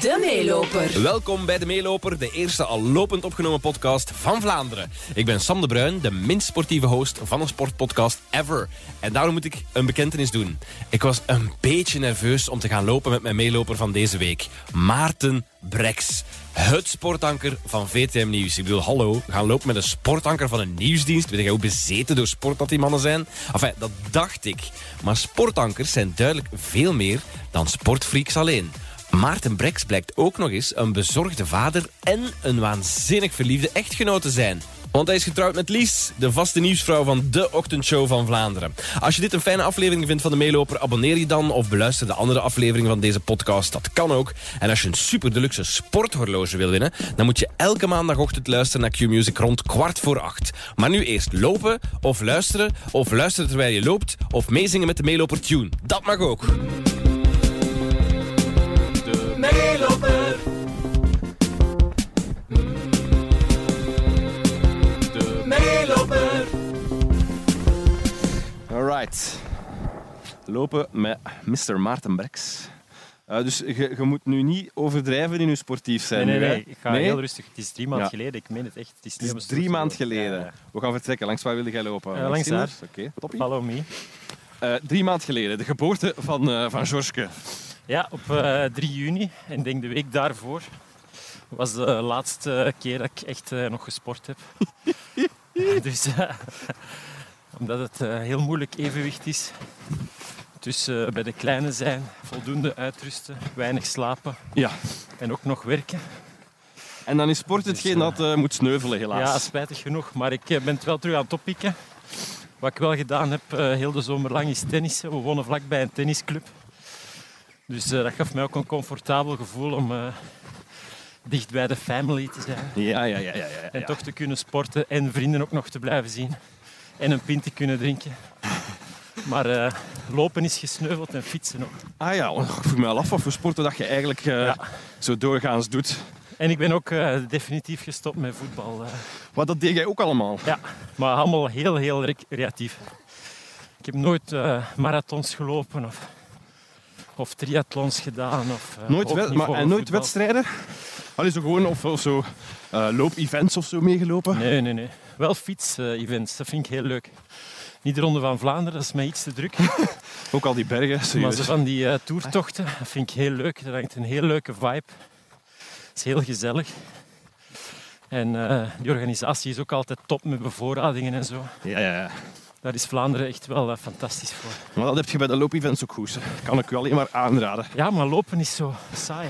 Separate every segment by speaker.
Speaker 1: De Meeloper.
Speaker 2: Welkom bij De Meeloper, de eerste al lopend opgenomen podcast van Vlaanderen. Ik ben Sam de Bruin, de minst sportieve host van een sportpodcast ever. En daarom moet ik een bekentenis doen. Ik was een beetje nerveus om te gaan lopen met mijn meeloper van deze week. Maarten Brex. Het sportanker van VTM Nieuws. Ik bedoel, hallo, gaan lopen met een sportanker van een nieuwsdienst. Weet jij hoe bezeten door sport dat die mannen zijn? Enfin, dat dacht ik. Maar sportankers zijn duidelijk veel meer dan sportfreaks alleen. Maarten Brex blijkt ook nog eens een bezorgde vader en een waanzinnig verliefde echtgenoot te zijn. Want hij is getrouwd met Lies, de vaste nieuwsvrouw van de ochtendshow van Vlaanderen. Als je dit een fijne aflevering vindt van De Meeloper, abonneer je dan of beluister de andere afleveringen van deze podcast. Dat kan ook. En als je een super deluxe sporthorloge wil winnen, dan moet je elke maandagochtend luisteren naar Q-Music rond kwart voor acht. Maar nu eerst lopen of luisteren of luisteren terwijl je loopt of meezingen met de Meeloper Tune. Dat mag ook.
Speaker 3: Meeloper. De Meeloper.
Speaker 2: Alright. Lopen met Mr. Maarten Brex. Eh, dus je je moet nu niet overdrijven in je sportief zijn.
Speaker 4: Nee, nee,
Speaker 2: nu, hè?
Speaker 4: nee, ik ga
Speaker 2: Nee?
Speaker 4: heel rustig. Het is drie maanden
Speaker 2: Ja.
Speaker 4: geleden, ik meen het echt. Het is,
Speaker 2: Het is
Speaker 4: niet om een
Speaker 2: drie
Speaker 4: stoel te
Speaker 2: maanden
Speaker 4: lopen.
Speaker 2: geleden.
Speaker 4: Ja, ja.
Speaker 2: We gaan vertrekken. Langs waar wilde jij lopen?
Speaker 4: Eh, langs
Speaker 2: Sinders? Oké, toppie.
Speaker 4: Follow me.
Speaker 2: Eh, drie maanden geleden, de geboorte van, eh van Georgeske.
Speaker 4: Ja, op eh, 3 juni, en ik denk de week daarvoor, was de laatste keer dat ik echt eh, nog gesport heb. dus eh, omdat het eh, heel moeilijk evenwicht is. Dus eh, bij de kleine zijn, voldoende uitrusten, weinig slapen
Speaker 2: Ja.
Speaker 4: en ook nog werken.
Speaker 2: En dan is sport hetgeen dat eh, moet sneuvelen, helaas.
Speaker 4: Ja, spijtig genoeg. Maar ik eh, ben het wel terug aan het oppikken. Wat ik wel gedaan heb, eh, heel de zomer lang, is tennissen. We wonen vlakbij een tennisclub. Dus eh, dat gaf mij ook een comfortabel gevoel om eh, dicht bij de family te zijn.
Speaker 2: Ja, ja, ja, ja, ja,
Speaker 4: En
Speaker 2: ja.
Speaker 4: toch te kunnen sporten en vrienden ook nog te blijven zien. En een pint te kunnen drinken. Maar eh, lopen is gesneuveld en fietsen ook.
Speaker 2: Ah ja, oh, ik vroeg me al af wat voor sporten dat je eigenlijk eh,
Speaker 4: Ja.
Speaker 2: zo doorgaans doet.
Speaker 4: En ik ben ook eh, definitief gestopt met voetbal. eh.
Speaker 2: Wat dat deed jij ook allemaal.
Speaker 4: Ja, maar allemaal heel, heel recreatief. Ik heb nooit eh, marathons gelopen of, of triathlons gedaan. Of, eh,
Speaker 2: Nooit,
Speaker 4: hoog
Speaker 2: wed- maar,
Speaker 4: niveau
Speaker 2: en nooit
Speaker 4: voetbal.
Speaker 2: wedstrijden? Allee, zo gewoon of, of zo eh, loop-events of zo meegelopen?
Speaker 4: Nee, nee, nee. Wel fiets-events, dat vind ik heel leuk. Niet de Ronde van Vlaanderen, dat is mij iets te druk.
Speaker 2: Ook al die bergen,
Speaker 4: Maar
Speaker 2: serieus.
Speaker 4: zo van die eh, toertochten, dat vind ik heel leuk. Dat hangt een heel leuke vibe. Het is heel gezellig. En eh, die organisatie is ook altijd top met bevoorradingen en zo.
Speaker 2: Ja, ja, ja.
Speaker 4: Daar is Vlaanderen echt wel eh, fantastisch voor.
Speaker 2: Maar dat heb je bij de loop-events ook goed. hè. Kan ik u alleen maar aanraden.
Speaker 4: Ja, maar lopen is zo saai.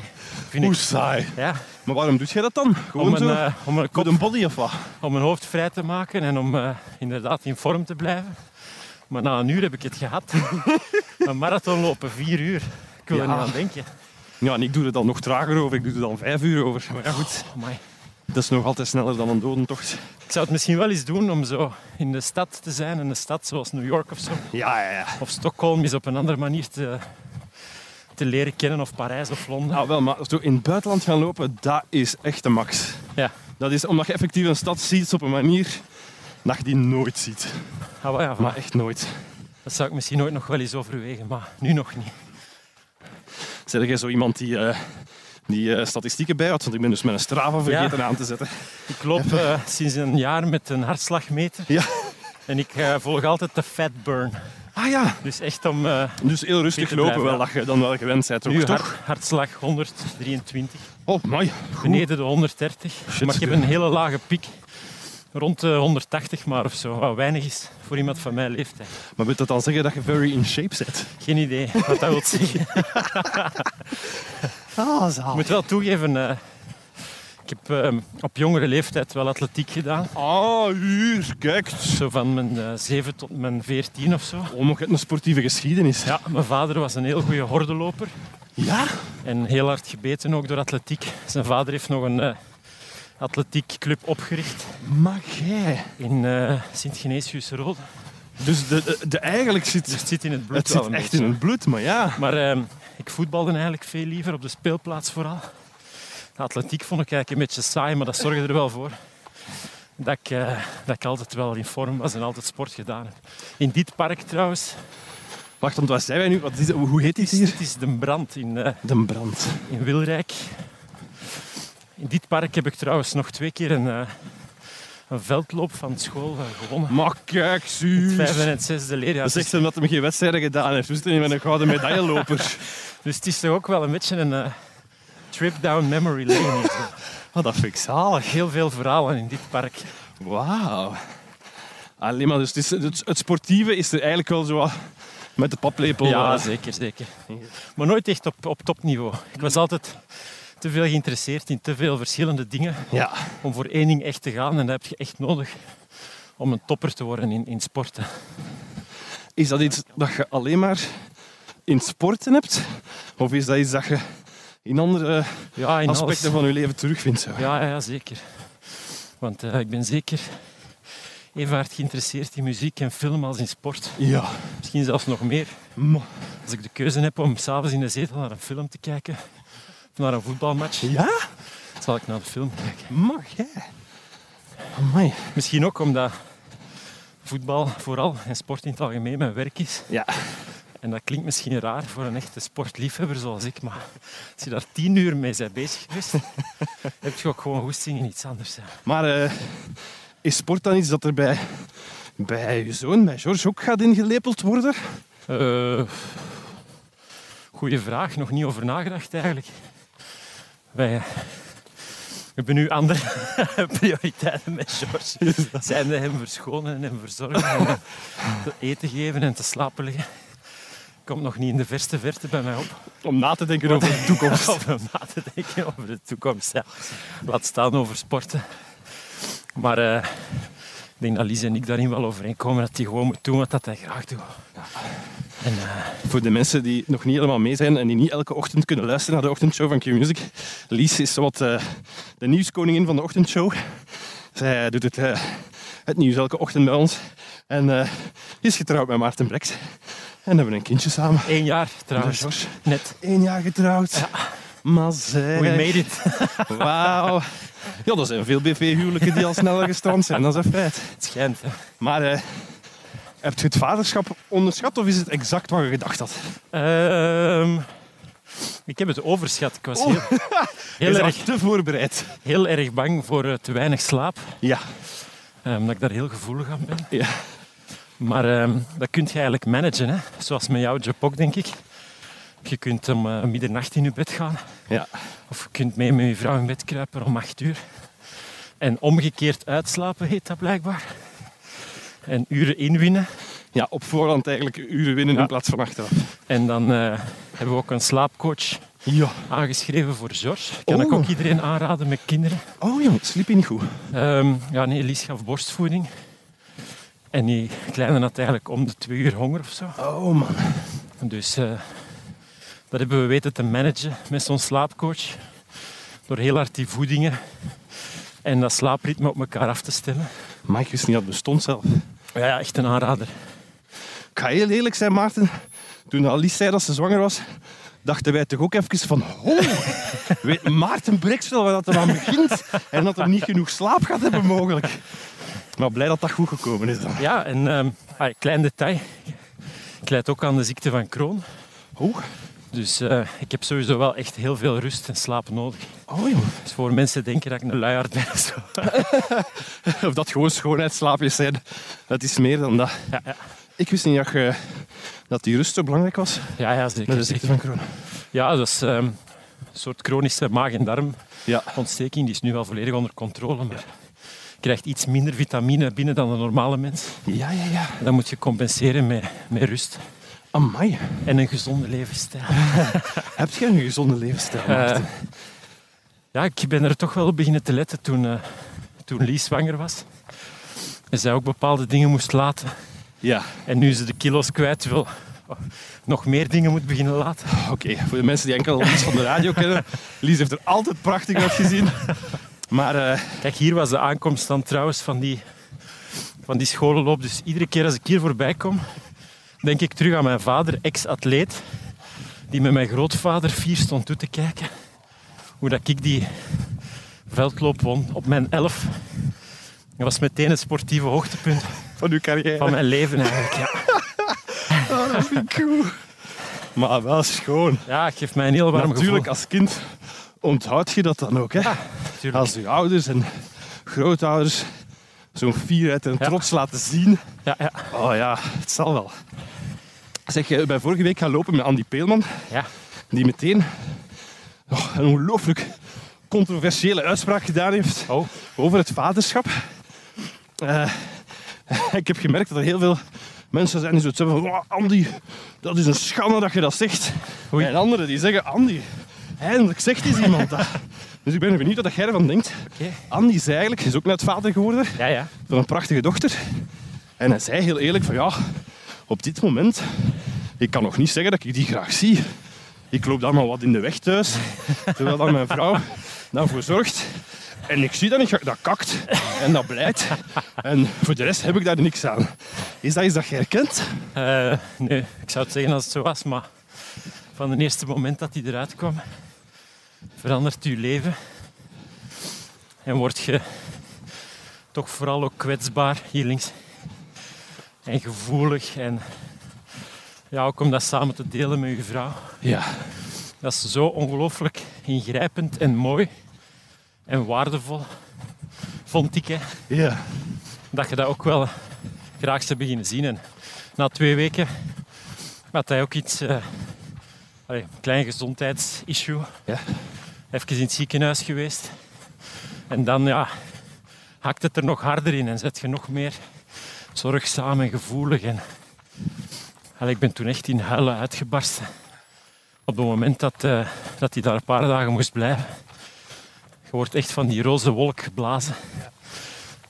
Speaker 4: Vind
Speaker 2: Hoe
Speaker 4: ik.
Speaker 2: saai.
Speaker 4: Ja,
Speaker 2: Maar waarom doet jij dat dan? Gewoon
Speaker 4: om, een,
Speaker 2: zo?
Speaker 4: eh, om, een
Speaker 2: Met
Speaker 4: kop,
Speaker 2: een body of wat?
Speaker 4: om een hoofd vrij te maken en om eh, inderdaad in vorm te blijven. Maar na een uur heb ik het gehad. een marathon lopen, vier uur. Ik wil er
Speaker 2: Ja.
Speaker 4: niet aan denken.
Speaker 2: Ja, en ik doe er dan nog trager over. Ik doe er dan vijf uur over. Maar ja, goed.
Speaker 4: Oh, amai.
Speaker 2: Dat is nog altijd sneller dan een dodentocht.
Speaker 4: ik zou het misschien wel eens doen om zo in de stad te zijn. In een stad zoals New York of zo.
Speaker 2: Ja, ja, ja.
Speaker 4: Of Stockholm is op een andere manier te, te leren kennen. Of Parijs of Londen.
Speaker 2: Nou wel, maar zo in het buitenland gaan lopen, dat is echt de max.
Speaker 4: Ja.
Speaker 2: Dat is omdat je effectief een stad ziet op een manier dat je die nooit ziet.
Speaker 4: Ah, wel ja,
Speaker 2: Maar echt nooit.
Speaker 4: dat zou ik misschien ooit nog wel eens overwegen. Maar nu nog niet.
Speaker 2: Zeg jij zo iemand die, eh, die eh, statistieken bijhoudt? Want ik ben dus mijn Strava vergeten aan te zetten.
Speaker 4: Ik loop eh, sinds een jaar met een hartslagmeter.
Speaker 2: Ja.
Speaker 4: En ik eh, volg altijd de fat burn.
Speaker 2: Ah ja,
Speaker 4: Dus echt om eh
Speaker 2: dus heel rustig
Speaker 4: Fitte
Speaker 2: lopen
Speaker 4: blijven,
Speaker 2: wel
Speaker 4: ja.
Speaker 2: dat je dan wel gewend bent. Ook,
Speaker 4: nu
Speaker 2: toch?
Speaker 4: hart- hartslag 123,
Speaker 2: Oh, mooi.
Speaker 4: beneden de 130. maar
Speaker 2: eh.
Speaker 4: ik heb een hele lage piek. Rond de 180 maar of zo, wat weinig is voor iemand van mijn leeftijd.
Speaker 2: Maar wil dat dan zeggen dat je very in shape zit?
Speaker 4: Geen idee wat dat wil zeggen.
Speaker 2: Ah, zaal.
Speaker 4: Ik moet wel toegeven, eh, ik heb eh, op jongere leeftijd wel atletiek gedaan.
Speaker 2: Ah, hier, kijk.
Speaker 4: Zo van mijn eh, 7 tot mijn 14 of zo.
Speaker 2: Oh, maar je hebt een sportieve geschiedenis.
Speaker 4: Ja, mijn vader was een heel goede hordeloper.
Speaker 2: Ja?
Speaker 4: En heel hard gebeten ook door atletiek. Zijn vader heeft nog een eh atletiekclub opgericht
Speaker 2: Maar jij.
Speaker 4: in eh Sint-Genesius-Rode.
Speaker 2: Dus de, de, de- eigenlijk
Speaker 4: Dus
Speaker 2: zit
Speaker 4: het zit in het bloed
Speaker 2: het
Speaker 4: wel
Speaker 2: zit
Speaker 4: een
Speaker 2: echt
Speaker 1: dus,
Speaker 4: beetje.
Speaker 2: in het bloed, maar ja.
Speaker 4: Maar ehm, ik voetbalde eigenlijk veel liever, op de speelplaats vooral. De atletiek vond ik eigenlijk een beetje saai, maar dat zorgde er wel voor. Dat ik, eh, dat ik altijd wel in vorm was en altijd sport gedaan heb. In dit park trouwens
Speaker 1: Wacht, want wat zijn wij nu? Wat is, hoe heet dit hier?
Speaker 4: Het is de brand in, eh,
Speaker 1: De brand.
Speaker 4: in Wilrijk. In dit park heb ik trouwens nog twee keer een, eh, een veldloop van school eh, gewonnen.
Speaker 1: Maar kijk,
Speaker 4: Het vijfde en
Speaker 1: zuur.
Speaker 4: het zesde leerjaar.
Speaker 1: Dat
Speaker 4: Dus-
Speaker 1: zegt ze omdat hij geen wedstrijden gedaan heeft. Dus hij met een gouden medailleloper.
Speaker 4: Dus het is toch ook wel een beetje een eh, trip down memory lane. hier, zo.
Speaker 1: Oh, dat vind ik zalig.
Speaker 4: Heel veel verhalen in dit park.
Speaker 1: Wauw. Alleen maar, dus het, is, het, het sportieve is er eigenlijk wel zo wat met de paplepel.
Speaker 4: Ja,
Speaker 1: eh,
Speaker 4: zeker, zeker. Maar nooit echt op, op topniveau. Ik was altijd te veel geïnteresseerd in te veel verschillende dingen
Speaker 1: ja.
Speaker 4: om voor één ding echt te gaan. En dat heb je echt nodig om een topper te worden in, in sporten.
Speaker 1: Is dat iets dat je alleen maar in sporten hebt? Of is dat iets dat je in andere
Speaker 4: Ja, in alles.
Speaker 1: aspecten van je leven terugvindt? Zo?
Speaker 4: Ja, ja, zeker. Want eh, ik ben zeker even hard geïnteresseerd in muziek en film als in sport.
Speaker 1: Ja.
Speaker 4: Misschien zelfs nog meer.
Speaker 1: Ma-
Speaker 4: Als ik de keuze heb om s'avonds in de zetel naar een film te kijken of naar een voetbalmatch,
Speaker 1: Ja?
Speaker 4: zal ik naar de film kijken.
Speaker 1: Mag jij? Amai.
Speaker 4: Misschien ook omdat voetbal vooral en sport in het algemeen mijn werk is.
Speaker 1: Ja.
Speaker 4: En dat klinkt misschien raar voor een echte sportliefhebber zoals ik, maar als je daar tien uur mee bent bezig geweest, heb je ook gewoon goesting in iets anders. hè.
Speaker 1: Maar eh, is sport dan iets dat er bij, bij je zoon, bij George, ook gaat ingelepeld worden?
Speaker 4: Eh goeie vraag, nog niet over nagedacht eigenlijk. Wij hebben nu andere prioriteiten met George. Zijn we hem verschonen en hem verzorgen en hem te eten geven en te slapen leggen. Komt nog niet in de verste verte bij mij op
Speaker 1: Om na te denken over de toekomst.
Speaker 4: om na te denken over de toekomst. Ja. Laat staan over sporten. Maar eh, ik denk dat Lies en ik daarin wel overeenkomen dat hij gewoon moet doen wat dat hij graag doet. En, eh,
Speaker 1: Voor de mensen die nog niet helemaal mee zijn en die niet elke ochtend kunnen luisteren naar de ochtendshow van Q-Music. Lies is zowat eh, de nieuwskoningin van de ochtendshow. Zij doet het, eh, het nieuws elke ochtend bij ons. En eh, is getrouwd met Maarten Brex. En hebben een kindje samen.
Speaker 4: Eén jaar trouwens,
Speaker 1: Dus,
Speaker 4: hoor. net.
Speaker 1: Eén jaar getrouwd. Maar
Speaker 4: We
Speaker 1: zij...
Speaker 4: made it.
Speaker 1: Wauw. Ja, er zijn veel BV-huwelijken die al sneller gestrand zijn. Dat is een feit.
Speaker 4: Het schijnt. hè.
Speaker 1: Maar eh, heb je het vaderschap onderschat of is het exact wat je gedacht had?
Speaker 4: Ehm, ik heb het overschat. Ik was heel, heel,
Speaker 1: Je
Speaker 4: erg,
Speaker 1: was te voorbereid.
Speaker 4: heel erg bang voor eh, te weinig slaap.
Speaker 1: Ja.
Speaker 4: eh, omdat ik daar heel gevoelig aan ben.
Speaker 1: Ja.
Speaker 4: Maar ehm, dat kun je eigenlijk managen. Hè? Zoals met jouw job ook, denk ik. Je kunt om eh, middernacht in je bed gaan.
Speaker 1: Ja.
Speaker 4: Of je kunt mee met je vrouw in bed kruipen om acht uur. En omgekeerd uitslapen heet dat blijkbaar. En uren inwinnen.
Speaker 1: Ja, op voorhand eigenlijk uren winnen
Speaker 4: Ja.
Speaker 1: in plaats van achteraf.
Speaker 4: En dan eh, hebben we ook een slaapcoach
Speaker 1: Ja.
Speaker 4: aangeschreven voor George. Kan ik
Speaker 1: Oh.
Speaker 4: ook iedereen aanraden met kinderen.
Speaker 1: Oh ja, sliep je niet goed?
Speaker 4: Ehm, ja, nee, Lies gaf borstvoeding. En die kleine had eigenlijk om de twee uur honger of zo.
Speaker 1: Oh man.
Speaker 4: Dus eh, dat hebben we weten te managen met zo'n slaapcoach. Door heel hard die voedingen en dat slaapritme op elkaar af te stemmen.
Speaker 1: Maar ik wist niet dat het bestond zelf.
Speaker 4: Ja, ja, echt een aanrader.
Speaker 1: Ik ga heel eerlijk zijn, Maarten. Toen Alice zei dat ze zwanger was, dachten wij toch ook even van... Oh, weet Maarten Breks wel waar dat er aan begint? En dat hem niet genoeg slaap gaat hebben mogelijk. Maar blij dat dat goed gekomen is dan.
Speaker 4: Ja, en ehm, ah, klein detail. Ik leid ook aan de ziekte van Crohn.
Speaker 1: Oh,
Speaker 4: Dus eh, ik heb sowieso wel echt heel veel rust en slaap nodig.
Speaker 1: oh joh.
Speaker 4: Dus voor mensen denken dat ik een luiaard ben of zo.
Speaker 1: Of dat gewoon schoonheidsslaapjes zijn. Dat is meer dan dat.
Speaker 4: Ja, ja.
Speaker 1: Ik wist niet dat, je- dat die rust zo belangrijk was.
Speaker 4: Ja, ja, zeker.
Speaker 1: Met de ziekte van corona.
Speaker 4: Ja, dat is ehm, een soort chronische maag- en
Speaker 1: Ja.
Speaker 4: darmontsteking. Die is nu wel volledig onder controle, maar je krijgt iets minder vitamine binnen dan een normale mens.
Speaker 1: Ja, ja, ja.
Speaker 4: En dat moet je compenseren met, met rust
Speaker 1: Amai.
Speaker 4: en een gezonde levensstijl.
Speaker 1: Heb jij een gezonde levensstijl? Maarten?
Speaker 4: Eh, ja, ik ben er toch wel op beginnen te letten toen, eh toen Lies zwanger was. En zij ook bepaalde dingen moest laten.
Speaker 1: ja,
Speaker 4: En nu ze de kilo's kwijt wil, oh, nog meer dingen moet beginnen laten.
Speaker 1: oké. Voor de mensen die enkel iets van de radio kennen. Lies heeft er altijd prachtig uitgezien. Maar eh,
Speaker 4: Kijk, hier was de aankomst dan trouwens van die, van die scholenloop. Dus iedere keer als ik hier voorbij kom, denk ik terug aan mijn vader, ex-atleet, die met mijn grootvader fier stond toe te kijken. Hoe dat ik die veldloop won op mijn elf. Dat was meteen het sportieve hoogtepunt
Speaker 1: van uw carrière.
Speaker 4: van mijn leven eigenlijk. Ja.
Speaker 1: Ah, dat vind ik goed. Maar ah, wel schoon.
Speaker 4: Ja, het geeft mij een heel
Speaker 1: Maar
Speaker 4: warm
Speaker 1: natuurlijk, als kind onthoud je dat dan ook. Hè?
Speaker 4: gevoel.
Speaker 1: Als je ouders en grootouders zo'n fierheid en
Speaker 4: Ja.
Speaker 1: trots laten zien.
Speaker 4: Ja, ja.
Speaker 1: Oh ja, het zal wel. Zeg, eh, ik ben vorige week gaan lopen met Andy Peelman.
Speaker 4: Ja.
Speaker 1: Die meteen oh, een ongelooflijk controversiële uitspraak gedaan heeft
Speaker 4: Oh,
Speaker 1: over het vaderschap. Eh, ik heb gemerkt dat er heel veel mensen zijn die zoiets hebben van "Oh, Andy, dat is een schande dat je dat zegt.
Speaker 4: Oei.
Speaker 1: En anderen die zeggen, Andy, eindelijk zegt eens iemand dat. Dus ik ben benieuwd wat jij ervan denkt.
Speaker 4: oké.
Speaker 1: Andy is eigenlijk, is ook net vader geworden
Speaker 4: Ja, ja.
Speaker 1: van een prachtige dochter. En hij zei heel eerlijk van ja, op dit moment, ik kan nog niet zeggen dat ik die graag zie. Ik loop daar maar wat in de weg thuis, terwijl dan mijn vrouw daarvoor zorgt. En ik zie dat niet, graag. dat kakt en dat blijft. En voor de rest heb ik daar niks aan. Is dat iets dat je herkent?
Speaker 4: Eh, nee, ik zou het zeggen als het zo was, maar van het eerste moment dat hij eruit kwam, verandert je leven. En word je toch vooral ook kwetsbaar hier links. En gevoelig. En ja, ook om dat samen te delen met je vrouw.
Speaker 1: Ja.
Speaker 4: Dat is zo ongelooflijk ingrijpend en mooi. En waardevol. Vond ik, hè
Speaker 1: Ja.
Speaker 4: dat je dat ook wel graag zou beginnen zien. En na twee weken had hij ook iets, eh, allee, een klein gezondheidsissue.
Speaker 1: Ja.
Speaker 4: Even in het ziekenhuis geweest. En dan ja, hakt het er nog harder in en zet je nog meer zorgzaam en gevoelig. En, allee, ik ben toen echt in huilen uitgebarsten. Op het moment dat, eh, dat hij daar een paar dagen moest blijven. Je wordt echt van die roze wolk geblazen.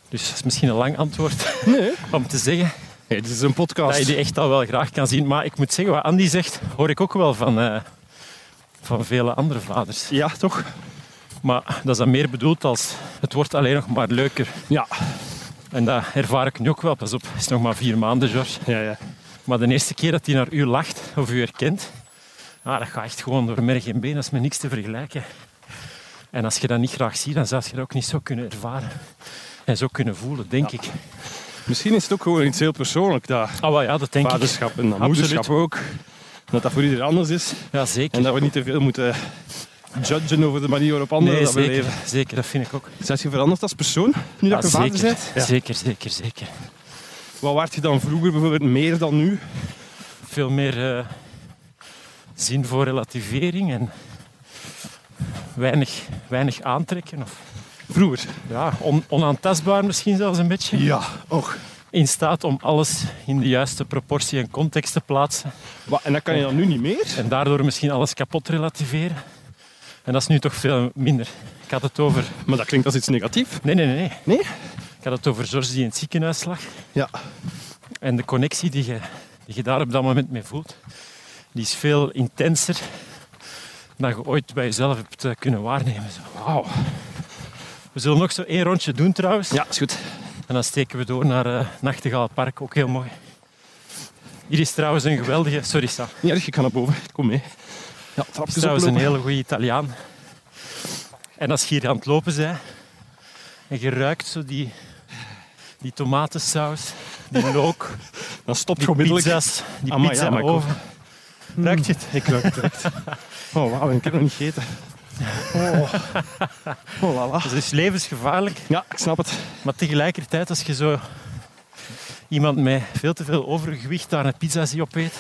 Speaker 4: Dus dat is misschien een lang antwoord
Speaker 1: Nee.
Speaker 4: om te zeggen
Speaker 1: Hey, dit is een podcast.
Speaker 4: dat je die echt al wel graag kan zien. Maar ik moet zeggen, wat Andy zegt, hoor ik ook wel van, eh, van vele andere vaders.
Speaker 1: Ja, toch?
Speaker 4: Maar dat is dan meer bedoeld als het wordt alleen nog maar leuker.
Speaker 1: Ja.
Speaker 4: En dat ervaar ik nu ook wel. Pas op, het is nog maar vier maanden, George.
Speaker 1: Ja, ja.
Speaker 4: Maar de eerste keer dat hij naar u lacht of u herkent, ah, dat gaat echt gewoon door merg en been. Dat is met niks te vergelijken. En als je dat niet graag ziet, dan zou je dat ook niet zo kunnen ervaren. En zo kunnen voelen, denk ik.
Speaker 1: Misschien is het ook gewoon iets heel persoonlijk, dat
Speaker 4: Ah, wel ja, dat denk ik.
Speaker 1: vaderschap en dat
Speaker 4: Absoluut.
Speaker 1: moederschap ook. Dat dat voor iedereen anders is.
Speaker 4: Ja, zeker.
Speaker 1: En dat we niet te veel moeten judgen over de manier waarop anderen
Speaker 4: Nee,
Speaker 1: dat
Speaker 4: zeker,
Speaker 1: beleven.
Speaker 4: zeker, dat vind ik ook.
Speaker 1: Zijn je veranderd als persoon nu dat je
Speaker 4: Ja,
Speaker 1: vader
Speaker 4: zeker,
Speaker 1: bent?
Speaker 4: zeker, zeker, zeker.
Speaker 1: Wat waard je dan vroeger bijvoorbeeld meer dan nu?
Speaker 4: Veel meer eh, zin voor relativering en weinig, weinig aantrekken. Of,
Speaker 1: Vroeger?
Speaker 4: ja, on- onaantastbaar misschien zelfs een beetje.
Speaker 1: Ja, och.
Speaker 4: In staat om alles in de juiste proportie en context te plaatsen.
Speaker 1: Wat, en dat kan je dan nu niet meer?
Speaker 4: En daardoor misschien alles kapot relativeren. En dat is nu toch veel minder. Ik had het over...
Speaker 1: Maar dat klinkt als iets negatiefs.
Speaker 4: Nee, nee, nee. nee.
Speaker 1: Nee?
Speaker 4: Ik had het over George die in het ziekenhuis lag.
Speaker 1: Ja.
Speaker 4: En de connectie die je, die je daar op dat moment mee voelt, die is veel intenser dan je ooit bij jezelf hebt eh, kunnen waarnemen. Zo.
Speaker 1: Wauw.
Speaker 4: We zullen nog zo één rondje doen trouwens.
Speaker 1: Ja, is goed.
Speaker 4: En dan steken we door naar eh Nachtegaal Park, ook heel mooi. Hier is trouwens een geweldige... Sorry Sam.
Speaker 1: Niet erg, ik ga naar boven. Kom mee. Ja,
Speaker 4: is
Speaker 1: trapjes
Speaker 4: trouwens een
Speaker 1: oplopen.
Speaker 4: hele goede Italiaan. En als je hier aan het lopen bent en je ruikt zo die, die tomatensaus, die look,
Speaker 1: Dan stopt je
Speaker 4: die
Speaker 1: onmiddellijk.
Speaker 4: pizza's, die
Speaker 1: Amai,
Speaker 4: pizza
Speaker 1: ja, maar ik
Speaker 4: oven. Ruikt je het?
Speaker 1: Ik ruik het direct. Oh, wauw, en ik heb nog niet gegeten. Oh, oh la, la.
Speaker 4: Dus het is levensgevaarlijk,
Speaker 1: Ja, ik snap het.
Speaker 4: maar tegelijkertijd als je zo iemand met veel te veel overgewicht daar een pizza ziet opeet,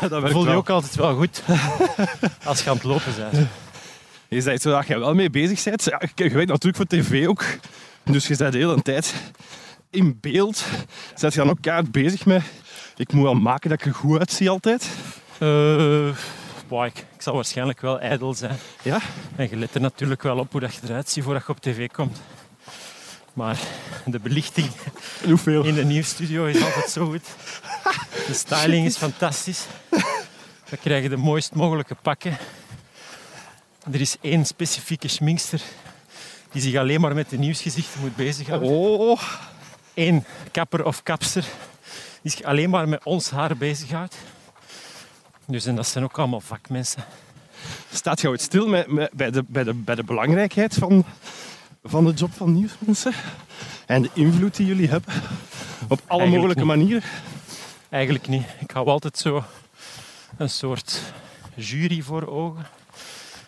Speaker 1: Dat werkt
Speaker 4: voel je
Speaker 1: wel.
Speaker 4: ook altijd wel goed als je aan het lopen bent.
Speaker 1: Is dat iets waar je wel mee bezig bent? Ja, je je werkt natuurlijk voor tv ook. Dus je bent de hele tijd in beeld. Zet je dan ook kaart bezig met... Ik moet wel maken dat ik er goed uitzie altijd.
Speaker 4: Eh, boah, ik, ik zal waarschijnlijk wel ijdel zijn.
Speaker 1: Ja?
Speaker 4: En je let er natuurlijk wel op hoe dat je eruit ziet voordat je op tv komt. Maar de belichting
Speaker 1: Hoeveel?
Speaker 4: in de nieuwsstudio is altijd zo goed. De styling is fantastisch. We krijgen de mooist mogelijke pakken. Er is één specifieke schminkster die zich alleen maar met de nieuwsgezichten moet bezighouden.
Speaker 1: Oh,
Speaker 4: Eén kapper of kapster die zich alleen maar met ons haar bezighoudt. Dus en dat zijn ook allemaal vakmensen.
Speaker 1: staat jou het stil met, met- bij, de, bij, de, bij de belangrijkheid van, van de job van nieuwsmensen? En de invloed die jullie hebben op alle
Speaker 4: Eigenlijk
Speaker 1: mogelijke
Speaker 4: niet.
Speaker 1: manieren?
Speaker 4: Eigenlijk niet. Ik hou altijd zo een soort jury voor ogen.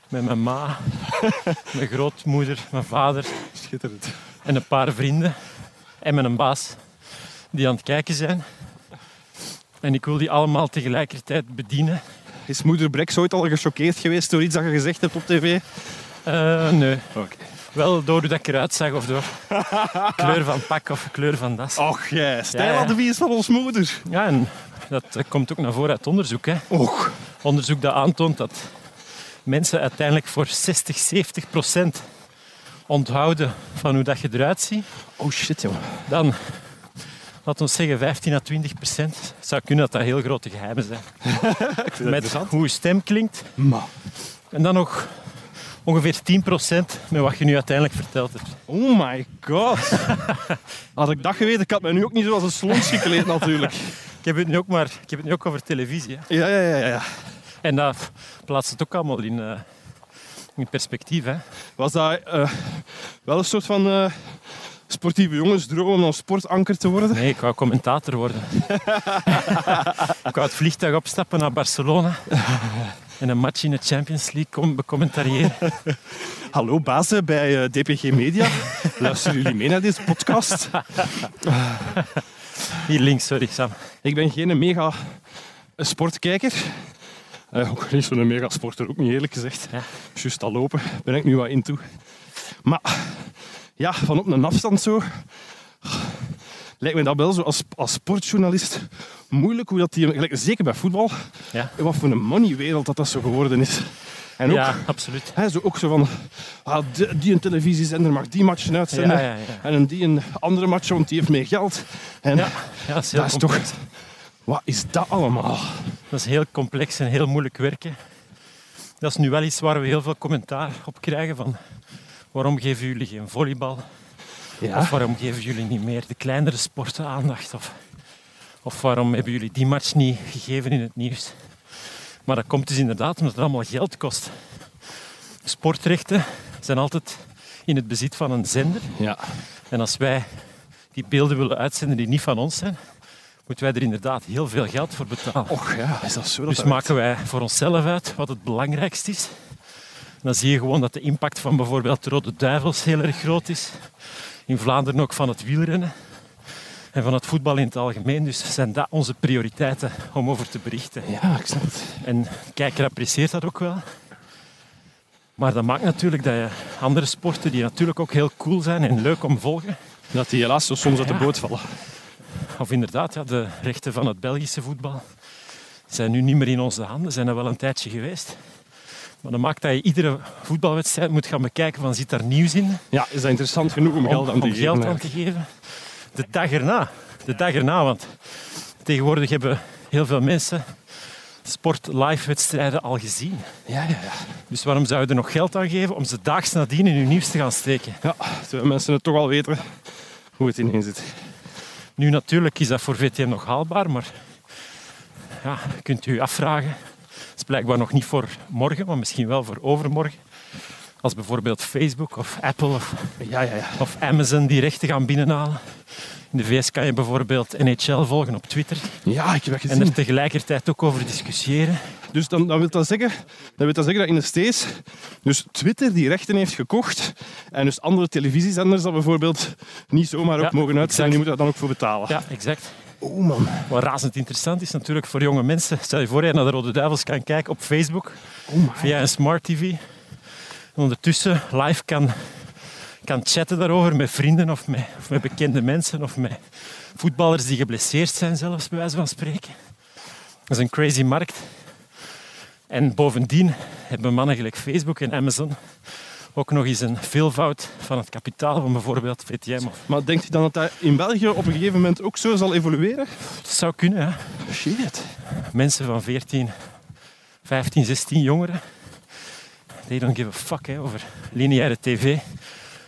Speaker 4: Met mijn ma, mijn grootmoeder, mijn vader
Speaker 1: Schitterend.
Speaker 4: en een paar vrienden. En met een baas die aan het kijken zijn. En ik wil die allemaal tegelijkertijd bedienen.
Speaker 1: Is moeder Brex ooit al gechoqueerd geweest door iets dat je gezegd hebt op tv?
Speaker 4: Eh, nee,
Speaker 1: Oké.
Speaker 4: wel door hoe dat ik eruit zag of door kleur van pak of kleur van das.
Speaker 1: Och, jij,
Speaker 4: Ja,
Speaker 1: stijladvies van ons moeder.
Speaker 4: Ja, en dat eh, komt ook naar voren uit onderzoek. Hè.
Speaker 1: Och.
Speaker 4: Onderzoek dat aantoont dat mensen uiteindelijk voor 60, 70 procent onthouden van hoe dat je eruit ziet.
Speaker 1: Oh shit, joh.
Speaker 4: Dan, laten we zeggen, 15 à 20 procent. Het zou kunnen dat dat heel grote geheimen zijn. Met hoe je stem klinkt.
Speaker 1: Ma.
Speaker 4: En dan nog ongeveer 10 procent met wat je nu uiteindelijk verteld hebt.
Speaker 1: Oh my god. Had ik dat geweten, ik had mij nu ook niet zoals een slons gekleed natuurlijk.
Speaker 4: Ik heb het nu ook, maar, ik heb het nu ook over televisie. Hè.
Speaker 1: Ja, ja, ja, ja.
Speaker 4: En dat plaatst het ook allemaal in, eh, in perspectief. Hè.
Speaker 1: Was dat eh, wel een soort van eh, sportieve jongensdroom om dan sportanker te worden?
Speaker 4: Nee, ik wou commentator worden. ik wou het vliegtuig opstappen naar Barcelona en een match in de Champions League com- becommentariëren.
Speaker 1: Hallo bazen bij eh, DPG Media. Luisteren jullie mee naar deze podcast?
Speaker 4: Hier links, sorry Sam.
Speaker 1: Ik ben geen mega sportkijker. Eh, ook niet zo'n mega sporter, ook niet eerlijk gezegd.
Speaker 4: Ja.
Speaker 1: Juist al lopen ben ik nu wat in toe. Maar ja, van op een afstand zo lijkt me dat wel zo als, als sportjournalist moeilijk hoe dat die, gelijk, zeker bij voetbal,
Speaker 4: Ja,
Speaker 1: wat voor een moneywereld dat dat zo geworden is. En ook,
Speaker 4: ja absoluut.
Speaker 1: hè, zo, ook zo van, ah, die, die een televisiezender mag die matchen
Speaker 4: Ja,
Speaker 1: uitzenden.
Speaker 4: ja, ja.
Speaker 1: En een die een andere match, want die heeft meer geld. En
Speaker 4: Ja, ja, dat is heel
Speaker 1: dat is
Speaker 4: complex.
Speaker 1: toch... Wat is dat allemaal?
Speaker 4: Dat is heel complex en heel moeilijk werken. Dat is nu wel iets waar we heel veel commentaar op krijgen van waarom geven jullie geen volleybal? Of
Speaker 1: Ja.
Speaker 4: waarom geven jullie niet meer de kleinere sporten aandacht? Of, of waarom hebben jullie die match niet gegeven in het nieuws? Maar dat komt dus inderdaad omdat het allemaal geld kost. Sportrechten zijn altijd in het bezit van een zender.
Speaker 1: ja.
Speaker 4: En als wij die beelden willen uitzenden die niet van ons zijn, moeten wij er inderdaad heel veel geld voor betalen.
Speaker 1: Och ja, is Oh, dat zo? Dat
Speaker 4: Dus maken wij voor onszelf uit wat het belangrijkste is. En dan zie je gewoon dat de impact van bijvoorbeeld de Rode Duivels heel erg groot is. In Vlaanderen ook van het wielrennen. En van het voetbal in het algemeen. Dus zijn dat onze prioriteiten om over te berichten.
Speaker 1: Ja, ik snap het.
Speaker 4: En de kijker apprecieert dat ook wel. Maar dat maakt natuurlijk dat je andere sporten, die natuurlijk ook heel cool zijn en leuk om te volgen.
Speaker 1: Dat die helaas zo soms uit de
Speaker 4: Ja.
Speaker 1: boot vallen.
Speaker 4: Of inderdaad, ja, de rechten van het Belgische voetbal zijn nu niet meer in onze handen. Zijn er wel een tijdje geweest. Maar dat maakt dat je iedere voetbalwedstrijd moet gaan bekijken van zit daar nieuws in
Speaker 1: Ja, is dat interessant genoeg om, geld aan
Speaker 4: om
Speaker 1: te geven?
Speaker 4: geld aan
Speaker 1: eigenlijk?
Speaker 4: te geven. De dag erna. De dag erna, want tegenwoordig hebben heel veel mensen sport live wedstrijden al gezien.
Speaker 1: Ja, ja, ja.
Speaker 4: Dus waarom zou je er nog geld aan geven om ze daags nadien in hun nieuws te gaan steken?
Speaker 1: Ja, terwijl mensen het toch al weten hoe het ineen zit.
Speaker 4: Nu natuurlijk is dat voor VTM nog haalbaar, maar ja, kunt u afvragen. Het is blijkbaar nog niet voor morgen, maar misschien wel voor overmorgen. Als bijvoorbeeld Facebook of Apple of,
Speaker 1: Ja, ja, ja.
Speaker 4: of Amazon die rechten gaan binnenhalen. In de VS kan je bijvoorbeeld NHL volgen op Twitter
Speaker 1: Ja, ik heb dat
Speaker 4: en
Speaker 1: gezien.
Speaker 4: er tegelijkertijd ook over discussiëren.
Speaker 1: Dus dan, dan, wil dat zeggen, dan wil dat zeggen dat in de States dus Twitter die rechten heeft gekocht en dus andere televisiezenders dat bijvoorbeeld niet zomaar ook
Speaker 4: Ja,
Speaker 1: mogen uitzenden.
Speaker 4: exact.
Speaker 1: Die moeten daar dan ook voor betalen.
Speaker 4: Ja, exact.
Speaker 1: Oh man.
Speaker 4: Wat razend interessant is natuurlijk voor jonge mensen. Stel je voor dat je naar de Rode Duivels kan kijken op Facebook
Speaker 1: my.
Speaker 4: via een smart TV. En ondertussen live kan, kan chatten daarover met vrienden of met, of met bekende mensen of met voetballers die geblesseerd zijn, zelfs bij wijze van spreken. Dat is een crazy markt. En bovendien hebben mannen gelijk Facebook en Amazon ook nog eens een veelvoud van het kapitaal van bijvoorbeeld VTM. Of,
Speaker 1: Maar denkt u dan dat dat in België op een gegeven moment ook zo zal evolueren?
Speaker 4: het zou kunnen, hè.
Speaker 1: Shit.
Speaker 4: mensen van 14, 15, 16 jongeren. They don't give a fuck hè, over lineaire tv.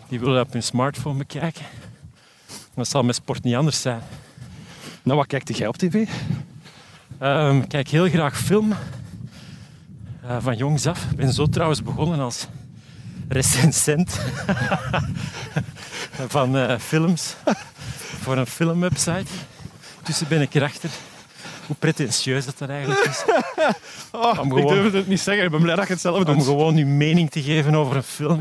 Speaker 4: Die willen dat op hun smartphone bekijken. Dat zal met sport niet anders zijn.
Speaker 1: Nou, wat kijkt jij op tv?
Speaker 4: Ehm, ik kijk heel graag film. eh, van jongs af. Ik ben zo trouwens begonnen als recensent van eh, films. voor een filmwebsite. Tussen ben ik erachter hoe pretentieus dat dan eigenlijk is.
Speaker 1: Oh,
Speaker 4: Om
Speaker 1: ik
Speaker 4: gewoon-
Speaker 1: durfde het niet zeggen, ik ben blij dat je het zelf
Speaker 4: Om
Speaker 1: doet.
Speaker 4: gewoon uw mening te geven over een film.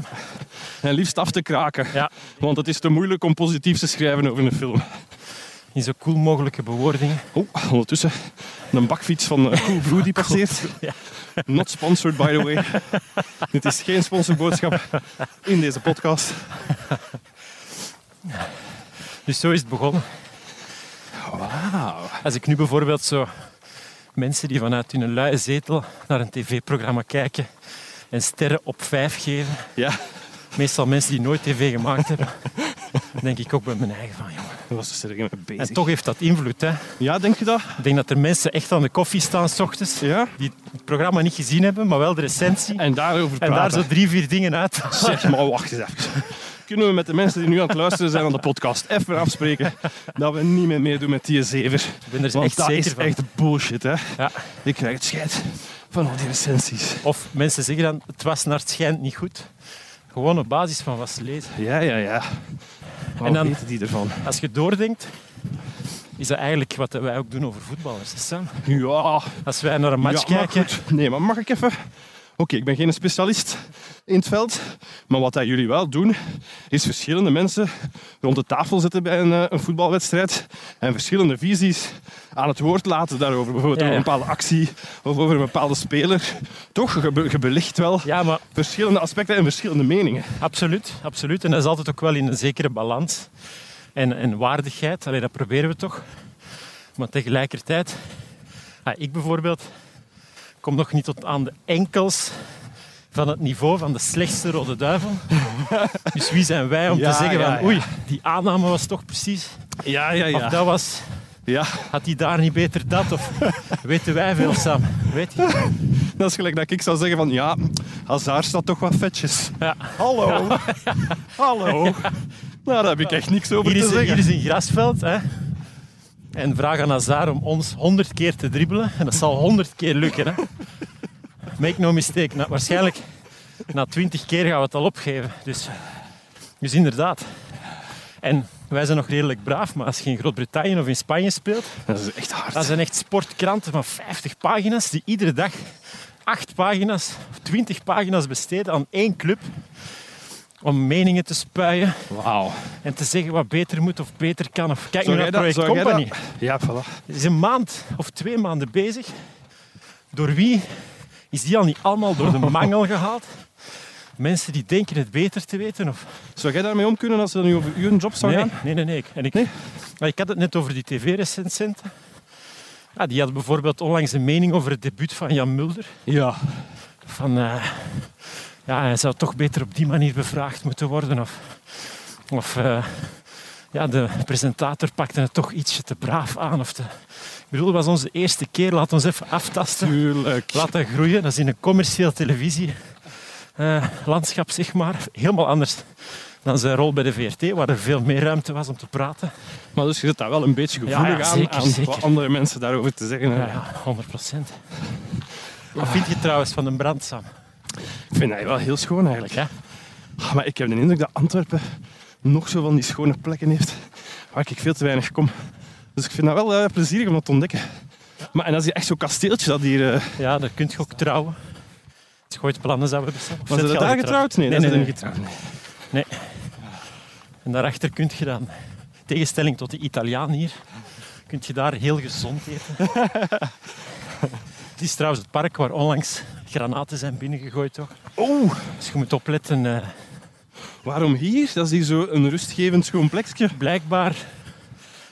Speaker 1: En liefst af te kraken.
Speaker 4: Ja.
Speaker 1: Want het is te moeilijk om positief te schrijven over een film.
Speaker 4: In zo cool mogelijke bewoordingen.
Speaker 1: Oh, ondertussen een bakfiets van eh, Cool Blue die passeert.
Speaker 4: ja.
Speaker 1: Not sponsored, by the way. Dit is geen sponsorboodschap in deze podcast.
Speaker 4: Dus zo is het begonnen.
Speaker 1: Wauw.
Speaker 4: Als ik nu bijvoorbeeld zo mensen die vanuit hun luie zetel naar een tv-programma kijken en sterren op vijf geven,
Speaker 1: Ja,
Speaker 4: meestal mensen die nooit tv gemaakt hebben, dan denk ik ook bij mijn eigen van, jongen.
Speaker 1: daar was dus er mee bezig.
Speaker 4: En toch heeft dat invloed, hè.
Speaker 1: Ja, denk je dat?
Speaker 4: Ik denk dat er mensen echt aan de koffie staan s ochtends,
Speaker 1: Ja.
Speaker 4: die het programma niet gezien hebben, maar wel de recensie.
Speaker 1: En daarover
Speaker 4: En
Speaker 1: praten.
Speaker 4: daar zo drie, vier dingen uit.
Speaker 1: Zeg maar, oh, wacht eens even. Kunnen we met de mensen die nu aan het luisteren zijn aan de podcast even afspreken dat we niet meer meedoen met die zever?
Speaker 4: Ik ben er
Speaker 1: Want
Speaker 4: echt
Speaker 1: dat
Speaker 4: zeker
Speaker 1: is
Speaker 4: van.
Speaker 1: echt bullshit, hè?
Speaker 4: Ja.
Speaker 1: Ik krijg het scheid van al die recensies.
Speaker 4: Of mensen zeggen dan, het was naar het schijnt niet goed. Gewoon op basis van wat ze lezen.
Speaker 1: Ja, ja, ja. en dan
Speaker 4: En dan-
Speaker 1: weten die ervan?
Speaker 4: Als je doordenkt, is dat eigenlijk wat wij ook doen over voetballers. hè, Sam?
Speaker 1: Ja,
Speaker 4: Als wij naar een match
Speaker 1: ja, maar
Speaker 4: kijken,
Speaker 1: goed. Nee, maar mag ik even? Oké, ik ben geen specialist in het veld. Maar wat dat jullie wel doen, is verschillende mensen rond de tafel zetten bij een, eh, een voetbalwedstrijd. En verschillende visies aan het woord laten daarover. Bijvoorbeeld
Speaker 4: Ja,
Speaker 1: over
Speaker 4: ja.
Speaker 1: een bepaalde actie of over een bepaalde speler. Toch, je, be- je belicht wel
Speaker 4: ja, maar
Speaker 1: verschillende aspecten en verschillende meningen.
Speaker 4: absoluut, absoluut. En dat is altijd ook wel in een zekere balans en, en waardigheid. Allee, dat proberen we toch. Maar tegelijkertijd, ah, ik bijvoorbeeld, kom nog niet tot aan de enkels van het niveau van de slechtste rode duivel. Dus wie zijn wij om
Speaker 1: Ja,
Speaker 4: te zeggen
Speaker 1: ja,
Speaker 4: van,
Speaker 1: ja.
Speaker 4: oei, die aanname was toch precies,
Speaker 1: Ja, ja,
Speaker 4: of dat was
Speaker 1: Ja,
Speaker 4: Had hij daar niet beter dat? Of weten wij veel, Sam? Weet je?
Speaker 1: dat is gelijk dat ik zou zeggen van ja, Hazard staat toch wat vetjes.
Speaker 4: Ja.
Speaker 1: Hallo. Hallo. Nou, daar heb ik echt niks over
Speaker 4: Hier, is
Speaker 1: te
Speaker 4: een,
Speaker 1: zeggen.
Speaker 4: hier is een grasveld. Hè? En vraag aan Hazard om ons honderd keer te dribbelen. En dat zal honderd keer lukken. Hè? Make no mistake. Nou, waarschijnlijk na twintig keer gaan we het al opgeven. Dus, dus inderdaad. En wij zijn nog redelijk braaf. Maar als je in Groot-Brittannië of in Spanje speelt...
Speaker 1: Dat is echt hard.
Speaker 4: Dat zijn echt sportkranten van 50 pagina's die iedere dag 8 pagina's of 20 pagina's besteden aan één club. Om meningen te spuien
Speaker 1: Wauw.
Speaker 4: en te zeggen wat beter moet of beter kan. Of kijk nu
Speaker 1: Zou jij
Speaker 4: naar
Speaker 1: dat?
Speaker 4: Project
Speaker 1: Zou jij
Speaker 4: Company.
Speaker 1: dat? Ja, voilà.
Speaker 4: Het is een maand of twee maanden bezig. Door wie is die al niet allemaal door de mangel gehaald? Mensen die denken het beter te weten of
Speaker 1: Zou jij daarmee om kunnen als ze nu over uw job zou
Speaker 4: nee,
Speaker 1: gaan?
Speaker 4: Nee, nee, nee. En ik, Maar ik had het net over die tv-recensenten. Ja, die had bijvoorbeeld onlangs een mening over het debuut van Jan Mulder.
Speaker 1: Ja.
Speaker 4: Van, eh, ja, hij zou toch beter op die manier bevraagd moeten worden. Of, of eh, ja, de presentator pakte het toch ietsje te braaf aan. Of te, ik bedoel, het was onze eerste keer. Laat ons even aftasten.
Speaker 1: Tuurlijk.
Speaker 4: Laat dat groeien. Dat is in een commercieel televisie. eh, landschap, zeg maar. Helemaal anders dan zijn rol bij de VRT, waar er veel meer ruimte was om te praten.
Speaker 1: Maar dus je zit daar wel een beetje gevoelig
Speaker 4: Ja, ja,
Speaker 1: aan,
Speaker 4: zeker,
Speaker 1: aan wat
Speaker 4: zeker.
Speaker 1: andere mensen daarover te zeggen
Speaker 4: Ja,
Speaker 1: hebben.
Speaker 4: ja 100 procent. Wat vind je trouwens van een brand, Sam?
Speaker 1: Ik vind dat wel heel schoon eigenlijk.
Speaker 4: Ja?
Speaker 1: Ah, Maar ik heb de indruk dat Antwerpen nog zo van die schone plekken heeft waar ik veel te weinig kom. Dus ik vind dat wel eh, plezierig om dat te ontdekken. Maar en dat is hier echt zo'n kasteeltje dat hier... eh,
Speaker 4: Ja, daar kun je ook trouwen. Het is gooit plannen, zou we bestaan.
Speaker 1: was dat daar getrouwd? Nee,
Speaker 4: Nee,
Speaker 1: dat
Speaker 4: nee,
Speaker 1: is
Speaker 4: nee.
Speaker 1: niet getrouwd. nee.
Speaker 4: En daarachter kun je dan, in tegenstelling tot de Italiaan hier, kun je daar heel gezond eten. Het is trouwens het park waar onlangs granaten zijn binnengegooid, toch?
Speaker 1: Oeh,
Speaker 4: Dus je moet opletten. eh,
Speaker 1: Oh, waarom hier? Dat is hier zo een rustgevend schoon plekje.
Speaker 4: blijkbaar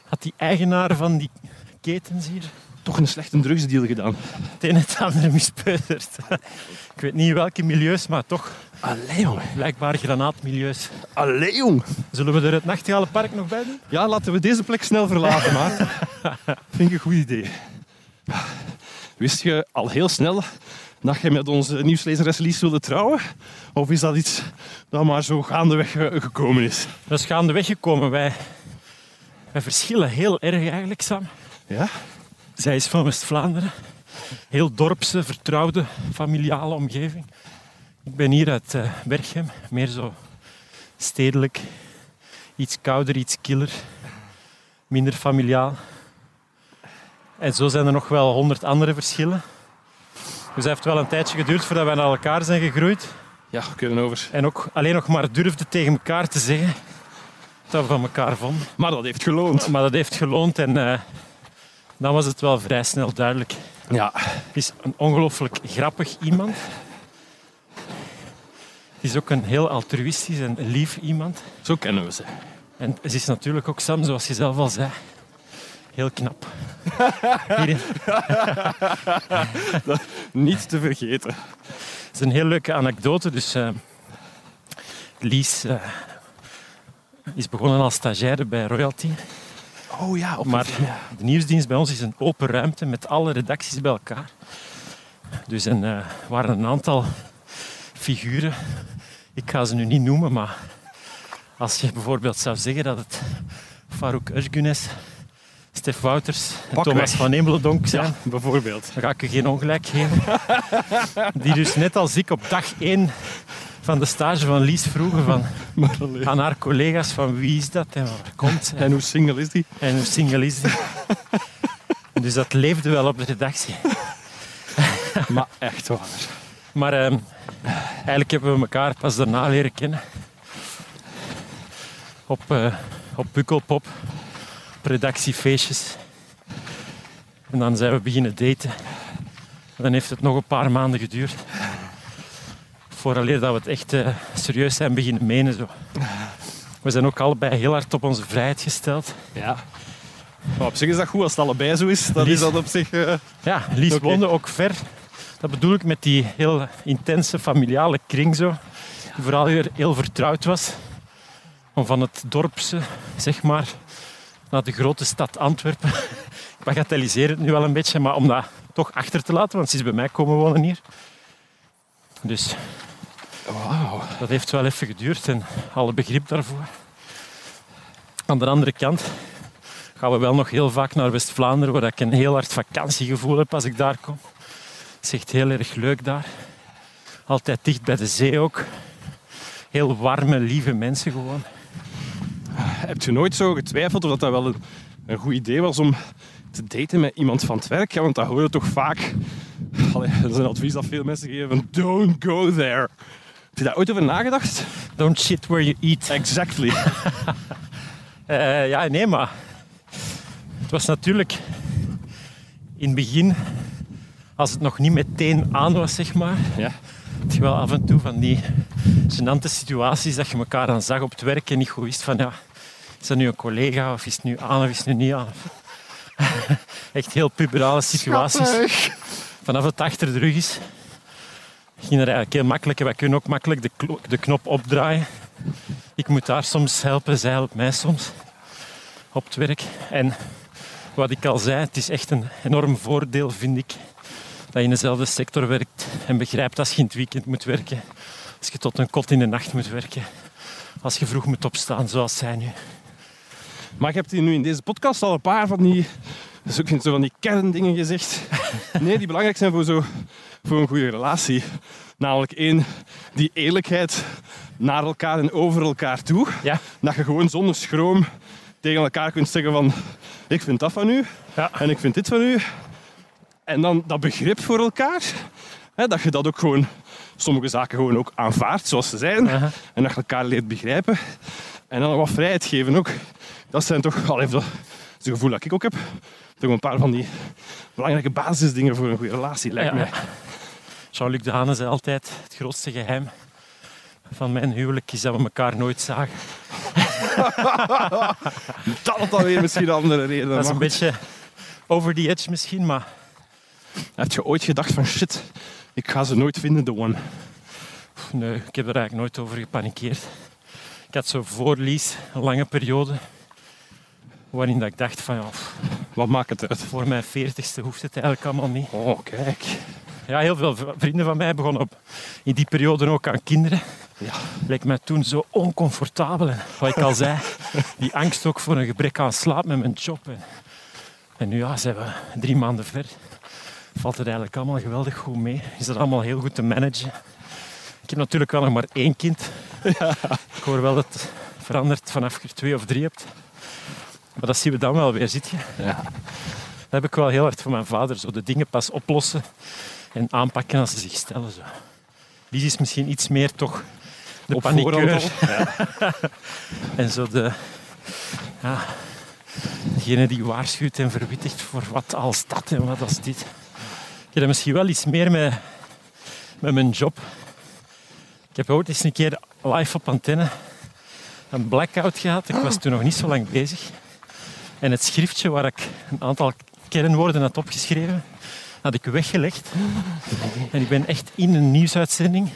Speaker 4: had die eigenaar van die ketens hier
Speaker 1: Toch een slechte drugsdeal gedaan.
Speaker 4: het een en het ander mispeuterd. Ik weet niet welke milieus, maar toch
Speaker 1: Allee, jong.
Speaker 4: blijkbaar granaatmilieus.
Speaker 1: Allee, jong.
Speaker 4: Zullen we er het Nachtigalenpark nog bij doen?
Speaker 1: Ja, laten we deze plek snel verlaten, Maarten. Vind ik een goed idee. Wist je al heel snel dat je met onze nieuwslezeres Lies wilde trouwen? Of is dat iets dat maar zo gaandeweg eh, gekomen is?
Speaker 4: Dat is gaandeweg gekomen. Wij, wij verschillen heel erg eigenlijk, Sam.
Speaker 1: Ja?
Speaker 4: Zij is van West-Vlaanderen. Heel dorpse, vertrouwde, familiale omgeving. Ik ben hier uit eh Berchem. Meer zo stedelijk. Iets kouder, iets killer. Minder familiaal. En zo zijn er nog wel honderd andere verschillen. Dus het heeft wel een tijdje geduurd voordat wij naar elkaar zijn gegroeid.
Speaker 1: Ja, kunnen over.
Speaker 4: En ook alleen nog maar durfde tegen elkaar te zeggen dat we van elkaar vonden.
Speaker 1: Maar dat heeft geloond.
Speaker 4: Maar dat heeft geloond en eh, dan was het wel vrij snel duidelijk.
Speaker 1: Ja,
Speaker 4: Het is een ongelooflijk grappig iemand. Het is ook een heel altruïstisch en lief iemand.
Speaker 1: zo kennen we ze.
Speaker 4: En ze is natuurlijk ook, Sam, zoals je zelf al zei, heel knap. Hier, het
Speaker 1: Niet te vergeten.
Speaker 4: is een heel leuke anekdote. Dus eh, Lies eh, is begonnen als stagiaire bij Royalty.
Speaker 1: Oh ja, op
Speaker 4: Maar de nieuwsdienst bij ons is een open ruimte met alle redacties bij elkaar. Dus en, eh, waren een aantal figuren. Ik ga ze nu niet noemen, maar als je bijvoorbeeld zou zeggen dat het Farouk Özgünes, Stef Wouters en
Speaker 1: Pak
Speaker 4: Thomas
Speaker 1: mij.
Speaker 4: van Emeldonk zijn,
Speaker 1: Ja, bijvoorbeeld.
Speaker 4: dan ga ik je geen ongelijk geven. Die dus net als ik op dag één van de stage van Lies vroegen van,
Speaker 1: Maar alleen.
Speaker 4: aan haar collega's van wie is dat en waar komt zij?
Speaker 1: En hoe single is die?
Speaker 4: En hoe single is die? dus dat leefde wel op de redactie.
Speaker 1: Maar echt waar.
Speaker 4: Maar ehm, eigenlijk hebben we elkaar pas daarna leren kennen. Op, eh op Pukkelpop, op redactiefeestjes. En dan zijn we beginnen daten. En dan heeft het nog een paar maanden geduurd. Vooraleer dat we het echt eh, serieus zijn beginnen menen. Zo. We zijn ook allebei heel hard op onze vrijheid gesteld.
Speaker 1: Ja. Maar op zich is dat goed als het allebei zo is. Dan
Speaker 4: Lies.
Speaker 1: is dat op zich... eh,
Speaker 4: Ja, Lies
Speaker 1: Oké.
Speaker 4: woonde ook ver. Dat bedoel ik met die heel intense familiale kring zo. Die vooral heel, heel vertrouwd was. Om van het dorpse, zeg maar, naar de grote stad Antwerpen. ik bagatelliseer het nu wel een beetje, maar om dat toch achter te laten, want ze is bij mij komen wonen hier. Dus
Speaker 1: Wauw.
Speaker 4: dat heeft wel even geduurd en alle begrip daarvoor. Aan de andere kant gaan we wel nog heel vaak naar West-Vlaanderen, waar ik een heel hard vakantiegevoel heb als ik daar kom. Het is echt heel erg leuk daar. Altijd dicht bij de zee ook. Heel warme, lieve mensen gewoon.
Speaker 1: Heb je nooit zo getwijfeld of dat, dat wel een, een goed idee was om te daten met iemand van het werk? Ja, want dat hoor je toch vaak. Allee, dat is een advies dat veel mensen geven. Don't go there. Heb je daar ooit over nagedacht?
Speaker 4: Don't shit where you eat.
Speaker 1: Exactly.
Speaker 4: Eh, ja, nee, maar het was natuurlijk in het begin, als het nog niet meteen aan was, zeg maar,
Speaker 1: Ja.
Speaker 4: had je wel af en toe van die gênante situaties dat je elkaar dan zag op het werk en niet goed wist van ja, is dat nu een collega of is het nu aan of is het nu niet aan? Echt heel puberale situaties. Vanaf het achter de rug is, ging dat eigenlijk heel makkelijk. En wij kunnen ook makkelijk de, klo- de knop opdraaien. Ik moet haar soms helpen, zij helpt mij soms op het werk. En wat ik al zei, het is echt een enorm voordeel, vind ik, dat je in dezelfde sector werkt en begrijpt als je in het weekend moet werken, als je tot een kot in de nacht moet werken, als je vroeg moet opstaan, zoals zij nu.
Speaker 1: Maar je hebt hier nu in deze podcast al een paar van die, dus ik vind zo van die kerndingen gezegd. Nee, die belangrijk zijn voor, zo, voor een goede relatie. Namelijk één, die eerlijkheid naar elkaar en over elkaar toe.
Speaker 4: Ja.
Speaker 1: Dat je gewoon zonder schroom tegen elkaar kunt zeggen van... Ik vind dat van u
Speaker 4: Ja.
Speaker 1: en ik vind dit van u. En dan dat begrip voor elkaar. Hè, dat je dat ook gewoon... Sommige zaken gewoon ook aanvaardt zoals ze zijn.
Speaker 4: Aha.
Speaker 1: En dat je elkaar leert begrijpen. En dan wat vrijheid geven ook. Dat zijn toch... Al dat is het gevoel dat ik ook heb. Toch een paar van die belangrijke basisdingen voor een goede relatie, lijkt
Speaker 4: Ja,
Speaker 1: mij.
Speaker 4: ja. Jean-Luc Dehane zei altijd, het grootste geheim van mijn huwelijk is dat we elkaar nooit zagen.
Speaker 1: Dat had dan weer misschien andere redenen.
Speaker 4: Dat is
Speaker 1: maar
Speaker 4: een
Speaker 1: goed.
Speaker 4: beetje over the edge misschien, maar
Speaker 1: Heb je ooit gedacht van shit, ik ga ze nooit vinden, de one?
Speaker 4: pff, nee, ik heb er eigenlijk nooit over gepanikeerd. Ik had zo voor Lies een lange periode waarin dat ik dacht van ja, pff,
Speaker 1: Wat maakt het uit?
Speaker 4: voor mijn veertigste hoeft het eigenlijk allemaal niet.
Speaker 1: Oh, kijk.
Speaker 4: Ja, heel veel v- vrienden van mij begonnen op, in die periode ook aan kinderen.
Speaker 1: Ja.
Speaker 4: Leek mij toen zo oncomfortabel. En wat ik al zei, die angst ook voor een gebrek aan slaap met mijn job. En, en nu ja, zijn we drie maanden ver. Valt het eigenlijk allemaal geweldig goed mee. Is dat allemaal heel goed te managen. Ik heb natuurlijk wel nog maar één kind. Ik hoor wel dat het verandert vanaf je er twee of drie hebt. Maar dat zien we dan wel weer, ziet je.
Speaker 1: Ja.
Speaker 4: Dat heb ik wel heel hard voor mijn vader. Zo de dingen pas oplossen en aanpakken als ze zich stellen. Zo. Die is misschien iets meer toch de
Speaker 1: Op
Speaker 4: paniekeur.
Speaker 1: voorhand
Speaker 4: en zo de... Ja, degene die waarschuwt en verwittigt voor wat als dat en wat als dit. Ik heb dat misschien wel iets meer met, met mijn job. Ik heb ooit eens een keer live op antenne een blackout gehad. Ik was toen nog niet zo lang bezig. En het schriftje waar ik een aantal kernwoorden had opgeschreven, had ik weggelegd. En ik ben echt in een nieuwsuitzending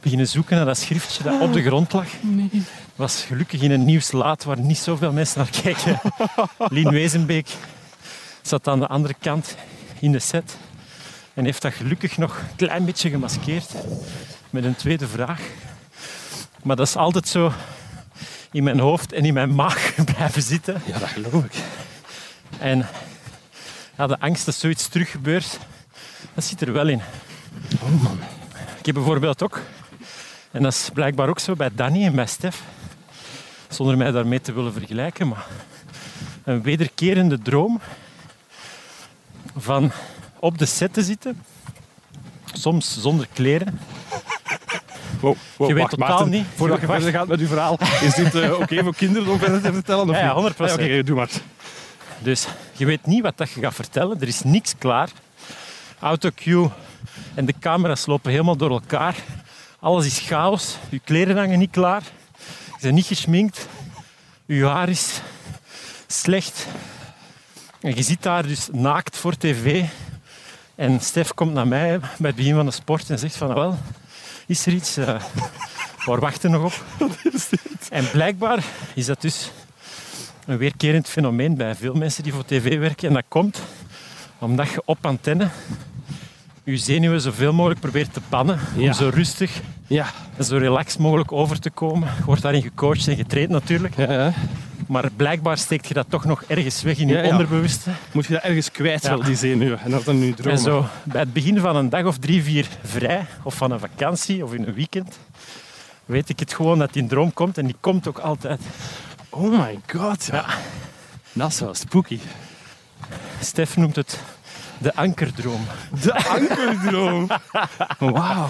Speaker 4: beginnen zoeken naar dat schriftje dat op de grond lag. Was gelukkig in een nieuwslaat waar niet zoveel mensen naar kijken. Lien Wezenbeek zat aan de andere kant in de set en heeft dat gelukkig nog een klein beetje gemaskeerd met een tweede vraag. Maar dat is altijd zo in mijn hoofd en in mijn maag blijven zitten.
Speaker 1: Ja, dat geloof ik.
Speaker 4: En ja, de angst dat zoiets terug gebeurt, dat zit er wel in.
Speaker 1: Oh man.
Speaker 4: Ik heb bijvoorbeeld ook, en dat is blijkbaar ook zo bij Danny en bij Stef, zonder mij daarmee te willen vergelijken, maar een wederkerende droom van op de set te zitten, soms zonder kleren.
Speaker 1: Wow, wow,
Speaker 4: Je weet
Speaker 1: wacht,
Speaker 4: totaal
Speaker 1: Maarten,
Speaker 4: niet.
Speaker 1: Voordat je
Speaker 4: Wacht.
Speaker 1: verder gaat met uw verhaal, is dit eh, oké voor kinderen om verder te vertellen? Of
Speaker 4: Ja, ja,
Speaker 1: niet?
Speaker 4: 100%.
Speaker 1: Ja, Oké, doe maar.
Speaker 4: Dus je weet niet wat dat je gaat vertellen, er is niks klaar. Autocue en de camera's lopen helemaal door elkaar. Alles is chaos, je kleren hangen niet klaar, je bent niet geschminkt, je haar is slecht. En je zit daar dus naakt voor tv. En Stef komt naar mij bij het begin van de sport en zegt van, "Ah, wel, is er iets? eh waar wachten we nog op? En blijkbaar is dat dus een weerkerend fenomeen bij veel mensen die voor tv werken. En dat komt omdat je op antenne je zenuwen zoveel mogelijk probeert te bannen.
Speaker 1: Ja.
Speaker 4: Om zo rustig
Speaker 1: Ja,
Speaker 4: en zo relaxed mogelijk over te komen. Je wordt daarin gecoacht en getraind natuurlijk.
Speaker 1: ja, ja.
Speaker 4: Maar blijkbaar steekt je dat toch nog ergens weg in je
Speaker 1: Ja, ja.
Speaker 4: onderbewuste.
Speaker 1: Moet je dat ergens kwijt,
Speaker 4: Ja.
Speaker 1: wel, die zenuwen. En dat dan nu dromen.
Speaker 4: En zo bij het begin van een dag of drie, vier vrij, of van een vakantie of in een weekend, weet ik het gewoon dat die droom komt. En die komt ook altijd.
Speaker 1: Oh my god, ja. Dat is wel spooky.
Speaker 4: Stef noemt het de ankerdroom.
Speaker 1: De ankerdroom. Oh, Wauw.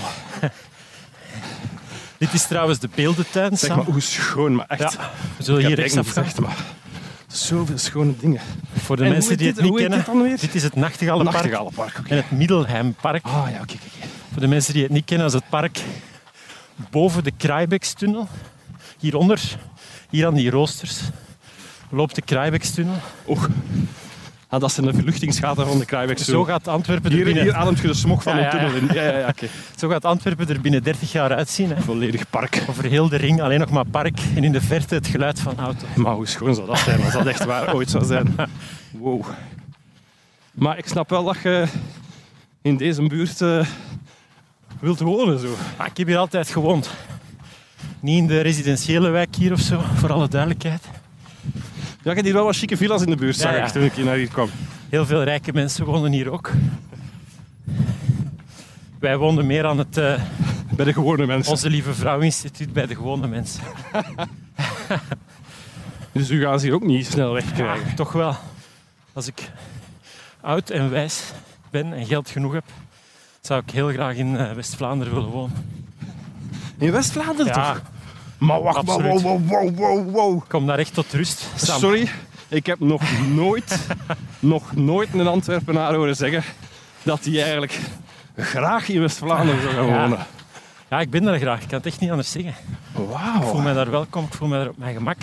Speaker 4: Dit is trouwens de beeldentuin,
Speaker 1: Zeg
Speaker 4: Sam.
Speaker 1: maar, hoe schoon, maar echt.
Speaker 4: Ja, we zullen
Speaker 1: Ik
Speaker 4: hier
Speaker 1: heb het
Speaker 4: rechtsaf
Speaker 1: eigenlijk
Speaker 4: gaan.
Speaker 1: niet gezegd, maar zoveel schone dingen.
Speaker 4: Voor de
Speaker 1: En
Speaker 4: mensen
Speaker 1: hoe
Speaker 4: die
Speaker 1: heet
Speaker 4: het
Speaker 1: dit-
Speaker 4: niet
Speaker 1: hoe heet
Speaker 4: kennen,
Speaker 1: dit dan weer?
Speaker 4: dit is het Nachtigallenpark
Speaker 1: Nachtigallenpark, oké.
Speaker 4: en het Middelheimpark.
Speaker 1: Ah ja, oké, oké.
Speaker 4: Voor de mensen die het niet kennen, is het park boven de Kraaibekstunnel. Hieronder, hier aan die roosters, loopt de Kraaibekstunnel.
Speaker 1: Och. Ah, dat is een verluchtingsgaten van de Kruijweg.
Speaker 4: Zo gaat Antwerpen er
Speaker 1: hier, hier
Speaker 4: binnen,
Speaker 1: ademt je de smog van
Speaker 4: Ja,
Speaker 1: een
Speaker 4: ja, ja.
Speaker 1: tunnel in. Ja, ja, ja, oké.
Speaker 4: zo gaat Antwerpen er binnen 30 jaar uitzien. Hè.
Speaker 1: Volledig park.
Speaker 4: Over heel de ring alleen nog maar park en in de verte het geluid van auto.
Speaker 1: Maar hoe schoon zou dat zijn als dat echt waar ooit zou zijn? Wow. Maar ik snap wel dat je in deze buurt eh, wilt wonen. Zo.
Speaker 4: Maar Ah, ik heb hier altijd gewoond. Niet in de residentiële wijk hier of zo, voor alle duidelijkheid.
Speaker 1: Ja, je hebt hier wel wat chique villa's in de buurt,
Speaker 4: Ja,
Speaker 1: zag
Speaker 4: ja.
Speaker 1: ik toen ik hier naar hier kwam.
Speaker 4: Heel veel rijke mensen wonen hier ook. Wij woonden meer aan het eh,
Speaker 1: Bij de gewone mensen.
Speaker 4: Onze Lieve Vrouw Instituut bij de gewone mensen.
Speaker 1: Dus u gaan ze hier ook niet snel wegkrijgen.
Speaker 4: Ja, toch wel. Als ik oud en wijs ben en geld genoeg heb, zou ik heel graag in eh, West-Vlaanderen willen wonen.
Speaker 1: In West-Vlaanderen
Speaker 4: Ja,
Speaker 1: toch? Maar wacht, maar
Speaker 4: Absoluut.
Speaker 1: wow, wow, wow, wow, wow.
Speaker 4: ik kom daar echt tot rust. Sam.
Speaker 1: Sorry, ik heb nog nooit, nog nooit een Antwerpenaar horen zeggen dat hij eigenlijk graag in West-Vlaanderen zou gaan
Speaker 4: Ja.
Speaker 1: wonen.
Speaker 4: Ja, ik ben daar graag. Ik kan het echt niet anders zeggen. Ik voel
Speaker 1: Wauw.
Speaker 4: mij daar welkom, ik voel mij daar op mijn gemak.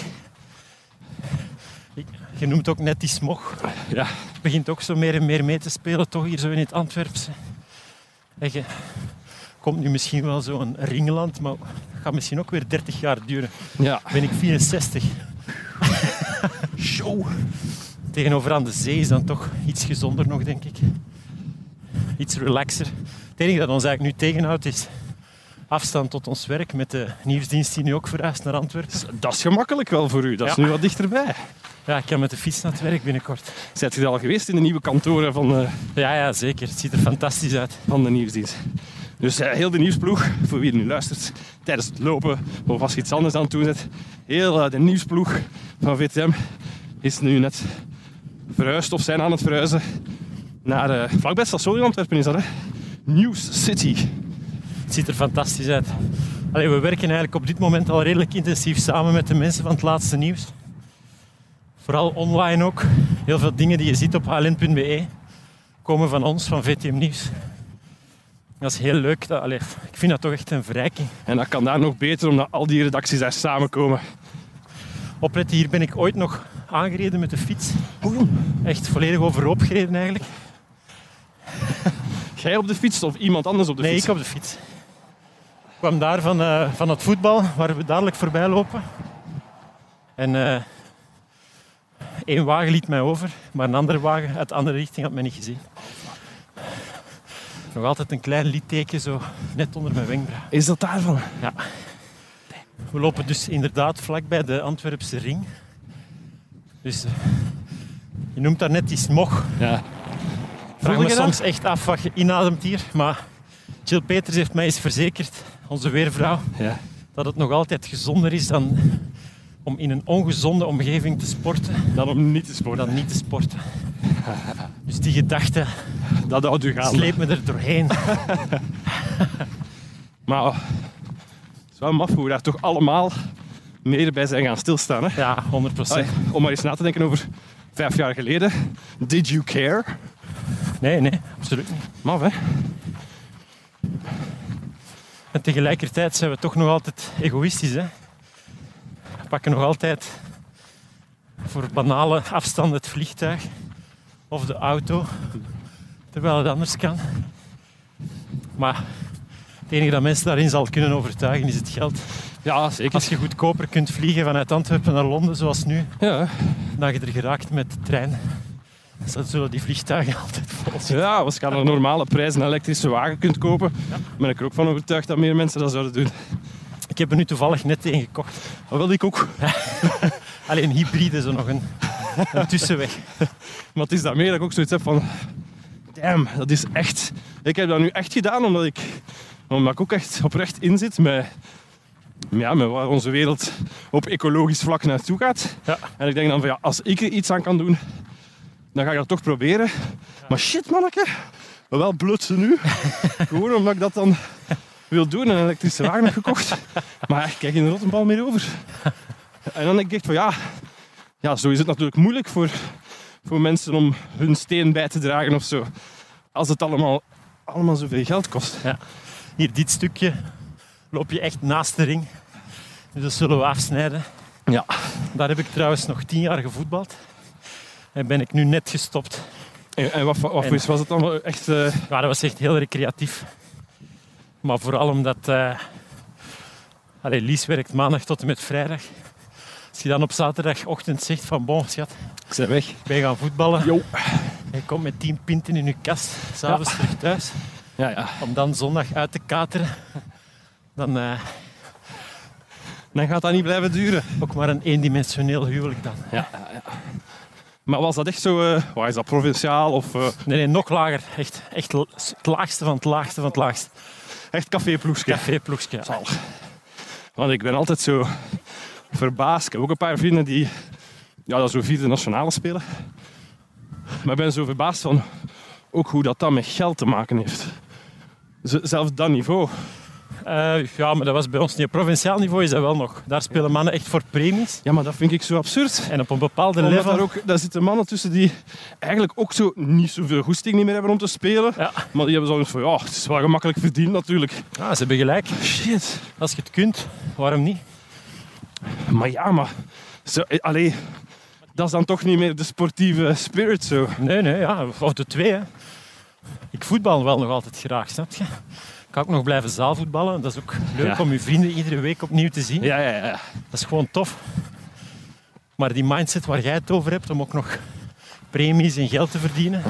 Speaker 4: Ik, je noemt ook net die smog.
Speaker 1: Ja.
Speaker 4: Het begint ook zo meer en meer mee te spelen, toch hier zo in het Antwerpse. En je komt nu misschien wel zo'n ringland, maar het gaat misschien ook weer 30 jaar duren.
Speaker 1: ja.
Speaker 4: ben ik 64.
Speaker 1: Show.
Speaker 4: Tegenover aan de zee is dan toch iets gezonder nog, denk ik. Iets relaxer. Het enige dat ons eigenlijk nu tegenhoudt is afstand tot ons werk met de nieuwsdienst die nu ook verhuist naar Antwerpen.
Speaker 1: Dat is gemakkelijk wel voor u, dat is
Speaker 4: Ja.
Speaker 1: nu wat dichterbij.
Speaker 4: Ja, ik kan met de fiets naar het werk binnenkort.
Speaker 1: Zijt je al geweest in de nieuwe kantoren van, eh,
Speaker 4: Ja, ja, zeker. Het ziet er fantastisch uit.
Speaker 1: van de nieuwsdienst? Dus eh, heel de nieuwsploeg, voor wie er nu luistert, tijdens het lopen of als je iets anders aan het doen bent, heel eh, de nieuwsploeg van VTM is nu net verhuisd of zijn aan het verhuizen naar eh, vlakbij het station in Antwerpen is dat, hè? News City.
Speaker 4: Het ziet er fantastisch uit. Allee, we werken eigenlijk op dit moment al redelijk intensief samen met de mensen van het laatste nieuws. Vooral online ook. Heel veel dingen die je ziet op hln.be E komen van ons, van VTM Nieuws. Dat is heel leuk. Dat, allee, ik vind dat toch echt een verrijking.
Speaker 1: En dat kan daar nog beter, omdat al die redacties daar samenkomen.
Speaker 4: Opletten, hier ben ik ooit nog aangereden met de fiets. Echt volledig overhoop gereden eigenlijk.
Speaker 1: Jij op de fiets of iemand anders op de
Speaker 4: nee,
Speaker 1: fiets?
Speaker 4: ik op de fiets. Ik kwam daar van, eh, van het voetbal, waar we dadelijk voorbij lopen. En eh, één wagen liet mij over, maar een andere wagen uit de andere richting had mij niet gezien. Nog altijd een klein litteken zo net onder mijn wenkbrauw.
Speaker 1: Is dat daarvan?
Speaker 4: We lopen dus inderdaad vlakbij de Antwerpse ring. Dus eh, je noemt daar net die smog.
Speaker 1: Ja.
Speaker 4: Vraag
Speaker 1: Voelde
Speaker 4: me
Speaker 1: je dat?
Speaker 4: soms echt af wat je inademt hier. Maar Jill Peters heeft mij eens verzekerd, onze weervrouw,
Speaker 1: ja.
Speaker 4: dat het nog altijd gezonder is dan om in een ongezonde omgeving te sporten
Speaker 1: Dan om niet te sporten.
Speaker 4: dan niet te sporten. Dus die gedachte
Speaker 1: Dat houdt u gaan.
Speaker 4: sleept me er doorheen.
Speaker 1: Maar oh, het is wel maf hoe we daar toch allemaal meer bij zijn gaan stilstaan. Hè?
Speaker 4: Ja, 100
Speaker 1: Allee, om maar eens na te denken over vijf jaar geleden. Did you care?
Speaker 4: Nee, nee, absoluut niet.
Speaker 1: Maf, hè?
Speaker 4: En tegelijkertijd zijn we toch nog altijd egoïstisch. Hè? We pakken nog altijd voor banale afstanden het vliegtuig of de auto, terwijl het anders kan. Maar het enige dat mensen daarin zal kunnen overtuigen is het geld.
Speaker 1: Ja, zeker.
Speaker 4: Als je goedkoper kunt vliegen vanuit Antwerpen naar Londen, zoals nu,
Speaker 1: Ja,
Speaker 4: dan je er geraakt met de trein. Dus dan zullen die vliegtuigen altijd vol zitten.
Speaker 1: ja, als je aan een normale prijs een elektrische wagen kunt kopen, ben ik er ook van overtuigd dat meer mensen dat zouden doen.
Speaker 4: Ik heb er nu toevallig net één gekocht.
Speaker 1: Dat Oh, wil ik ook.
Speaker 4: Alleen een hybride, zo nog een, een tussenweg.
Speaker 1: Maar het is daarmee dat ik ook zoiets heb van... Damn, dat is echt... Ik heb dat nu echt gedaan omdat ik, omdat ik ook echt oprecht in zit met, ja, met waar onze wereld op ecologisch vlak naartoe gaat.
Speaker 4: Ja.
Speaker 1: En ik denk dan van ja, als ik er iets aan kan doen, dan ga ik dat toch proberen. Maar shit manneke, wel blutsen nu. Gewoon omdat ik dat dan wil doen en een elektrische wagen heb gekocht. Maar ik krijg geen rottenbal meer over. En dan denk ik echt van ja, ja, zo is het natuurlijk moeilijk voor voor mensen om hun steen bij te dragen of zo. Als het allemaal, allemaal zoveel geld kost.
Speaker 4: Hier, dit stukje loop je echt naast de ring. Dus dat zullen we afsnijden.
Speaker 1: Ja.
Speaker 4: Daar heb ik trouwens nog tien jaar gevoetbald. En ben ik nu net gestopt.
Speaker 1: En, en wat, wat, wat
Speaker 4: En-
Speaker 1: was- was het dan wel echt... eh,
Speaker 4: Ja, dat was echt heel recreatief. Maar vooral omdat... eh Allee, Lies werkt maandag tot en met vrijdag. Als je dan op zaterdagochtend zegt van... Bon, schat,
Speaker 1: Ik ben weg.
Speaker 4: ik ben gaan voetballen.
Speaker 1: Jo.
Speaker 4: Je komt met tien pinten in je kast. S'avonds terug thuis.
Speaker 1: Ja, ja.
Speaker 4: Om dan zondag uit te kateren. Dan eh,
Speaker 1: Dan gaat dat niet blijven duren.
Speaker 4: ook maar een eendimensioneel huwelijk dan.
Speaker 1: Maar was dat echt zo... eh, waar is dat, provinciaal of eh,
Speaker 4: Nee, nee, nog lager. Echt, echt l- het laagste van het laagste van het laagste.
Speaker 1: echt caféploegje?
Speaker 4: Caféploegske. ja.
Speaker 1: Zal. Want ik ben altijd zo verbaasd. Ik heb ook een paar vrienden die ja, dat zo vierde nationale spelen. Maar ik ben zo verbaasd van ook hoe dat dan met geld te maken heeft. Z- zelfs dat niveau.
Speaker 4: Eh, ja, maar dat was bij ons niet. Op provinciaal niveau is dat wel nog. Daar spelen mannen echt voor premies.
Speaker 1: Ja, maar dat vind ik zo absurd.
Speaker 4: En op een bepaalde
Speaker 1: Omdat
Speaker 4: level...
Speaker 1: daar, ook, daar zitten mannen tussen die eigenlijk ook zo niet zoveel goesting niet meer hebben om te spelen.
Speaker 4: Ja.
Speaker 1: Maar die hebben zoiets van, ja, het is wel gemakkelijk verdiend natuurlijk.
Speaker 4: Ah, ze hebben gelijk.
Speaker 1: Shit.
Speaker 4: Als je het kunt, waarom niet?
Speaker 1: Maar ja, maar... Zo, eh, allee, dat is dan toch niet meer de sportieve spirit zo.
Speaker 4: Nee, nee, ja. Of de twee, hè. Ik voetbal wel nog altijd graag, snap je? Ik kan ook nog blijven zaalvoetballen. Dat is ook leuk
Speaker 1: Ja.
Speaker 4: om je vrienden iedere week opnieuw te zien.
Speaker 1: Ja, ja, ja.
Speaker 4: Dat is gewoon tof. Maar die mindset waar jij het over hebt, om ook nog premies en geld te verdienen.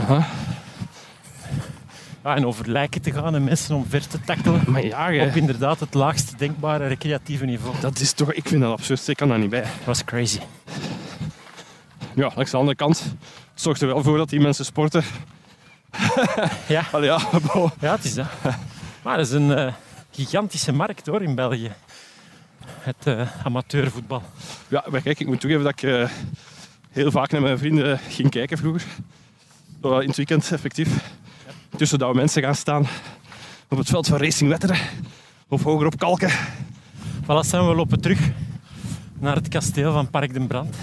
Speaker 4: Ja, en over lijken te gaan en mensen omver te tackelen.
Speaker 1: Maar ja,
Speaker 4: Op
Speaker 1: hè,
Speaker 4: inderdaad het laagste denkbare recreatieve niveau.
Speaker 1: dat is toch... Ik vind dat absurd. Ik kan daar niet bij.
Speaker 4: Dat was crazy.
Speaker 1: Ja, langs de andere kant... Het zorgt er wel voor dat die mensen sporten.
Speaker 4: Ja.
Speaker 1: Allee, ja, bo.
Speaker 4: Ja, het is dat. Maar dat is een eh, gigantische markt hoor in België. Het eh, amateurvoetbal.
Speaker 1: Ja, maar kijk, ik moet toegeven dat ik eh, heel vaak naar mijn vrienden eh, ging kijken vroeger. Zo, In het weekend effectief. Tussen dat we mensen gaan staan op het veld van Racing Wetteren. Of hoger op Kalken.
Speaker 4: Voilà, zijn we lopen terug naar het kasteel van Park den Brand.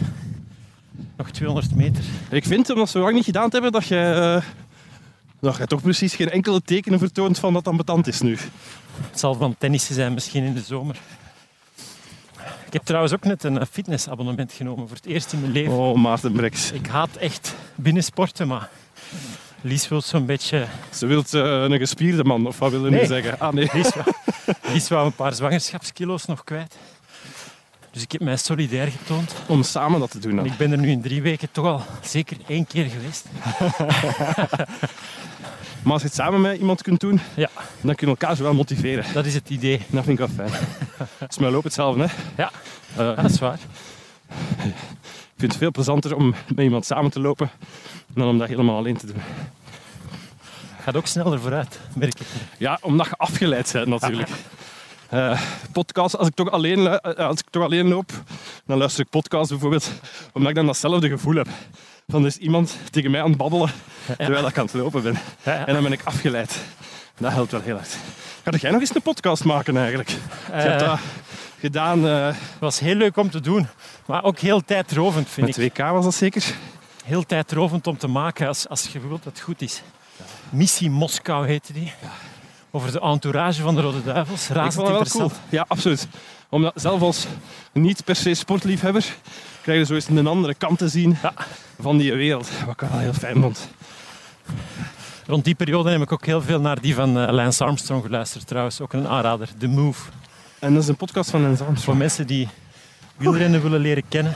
Speaker 4: Nog 200 meter.
Speaker 1: Ik vind, omdat ze lang niet gedaan hebben, dat je, eh, dat je toch precies geen enkele tekenen vertoont van dat het ambetant is nu.
Speaker 4: Het zal van tennissen zijn, misschien in de zomer. Ik heb trouwens ook net een eh, fitnessabonnement genomen voor het eerst in mijn leven.
Speaker 1: Oh, Maarten Breks.
Speaker 4: Ik haat echt binnensporten, maar Lies wil zo'n beetje...
Speaker 1: Ze wilt eh, een gespierde man, of wat wil je nu
Speaker 4: Nee.
Speaker 1: zeggen? Ah, nee.
Speaker 4: Lies wou, Lies wou een paar zwangerschapskilo's nog kwijt. Dus ik heb mij solidair getoond.
Speaker 1: Om samen dat te doen.
Speaker 4: En
Speaker 1: Dan.
Speaker 4: ik ben er nu in drie weken toch al zeker één keer geweest.
Speaker 1: Maar als je het samen met iemand kunt doen,
Speaker 4: Ja.
Speaker 1: dan kun je elkaar zo wel motiveren.
Speaker 4: Dat is het idee.
Speaker 1: Dat vind ik wel fijn. Het is mijn loop hetzelfde, hè.
Speaker 4: Ja,
Speaker 1: Eh,
Speaker 4: ja, dat is waar.
Speaker 1: ik vind het veel plezanter om met iemand samen te lopen dan om dat helemaal alleen te doen.
Speaker 4: Gaat ook sneller vooruit, merk ik.
Speaker 1: Ja, omdat je afgeleid bent natuurlijk. Eh, podcast, als ik, toch alleen, lu- eh, als ik toch alleen loop, dan luister ik podcast bijvoorbeeld, omdat ik dan datzelfde gevoel heb. Van er is iemand tegen mij aan het babbelen terwijl ik aan het lopen ben.
Speaker 4: Ja, ja.
Speaker 1: En dan ben ik afgeleid. Dat helpt wel heel erg. Ga jij nog eens een podcast maken eigenlijk? je hebt
Speaker 4: Eh,
Speaker 1: dat gedaan eh,
Speaker 4: Het was heel leuk om te doen, maar ook heel tijdrovend, vind
Speaker 1: met
Speaker 4: ik.
Speaker 1: 2K was dat zeker?
Speaker 4: Heel tijdrovend om te maken, als, als je wilt dat het goed is. Missie Moskou heette die. Over de entourage van de Rode Duivels.
Speaker 1: Ik
Speaker 4: Razend
Speaker 1: vond dat wel
Speaker 4: interessant.
Speaker 1: cool. Ja, absoluut. Omdat zelf als niet per se sportliefhebber krijg je zo eens een andere kant te zien
Speaker 4: Ja.
Speaker 1: van die wereld. Wat ik wel heel fijn vond.
Speaker 4: Rond die periode heb ik ook heel veel naar die van eh, Lance Armstrong geluisterd trouwens. Ook een aanrader, The Move.
Speaker 1: En dat is een podcast van Lens Armstrong.
Speaker 4: Voor mensen die wielrennen willen leren kennen.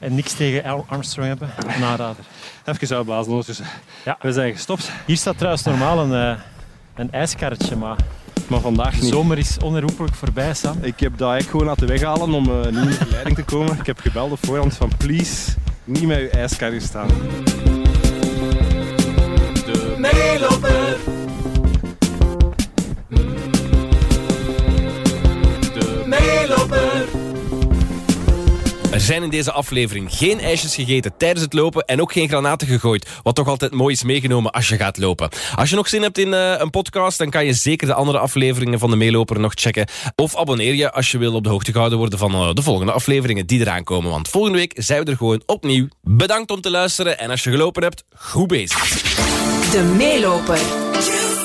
Speaker 4: En niks tegen Al Armstrong hebben, een aanrader.
Speaker 1: Even uitblazen ondertussen.
Speaker 4: Ja.
Speaker 1: We zijn gestopt,
Speaker 4: Hier staat trouwens normaal een, eh, een ijskarretje, maar
Speaker 1: maar vandaag
Speaker 4: de
Speaker 1: niet.
Speaker 4: zomer is onherroepelijk voorbij, Sam.
Speaker 1: Ik heb dat eigenlijk gewoon laten weghalen om eh, niet in de verleiding te komen. Ik heb gebeld op voorhand van please, niet met uw ijskarretje staan.
Speaker 3: de meeloper. De meeloper.
Speaker 2: Er zijn in deze aflevering geen ijsjes gegeten tijdens het lopen en ook geen granaten gegooid. Wat toch altijd mooi is meegenomen als je gaat lopen. Als je nog zin hebt in eh, een podcast, dan kan je zeker de andere afleveringen van de Meeloper nog checken. Of abonneer je als je wil op de hoogte gehouden worden van eh, de volgende afleveringen die eraan komen. Want volgende week zijn we er gewoon opnieuw. Bedankt om te luisteren en als je gelopen hebt, goed bezig.
Speaker 5: De meeloper.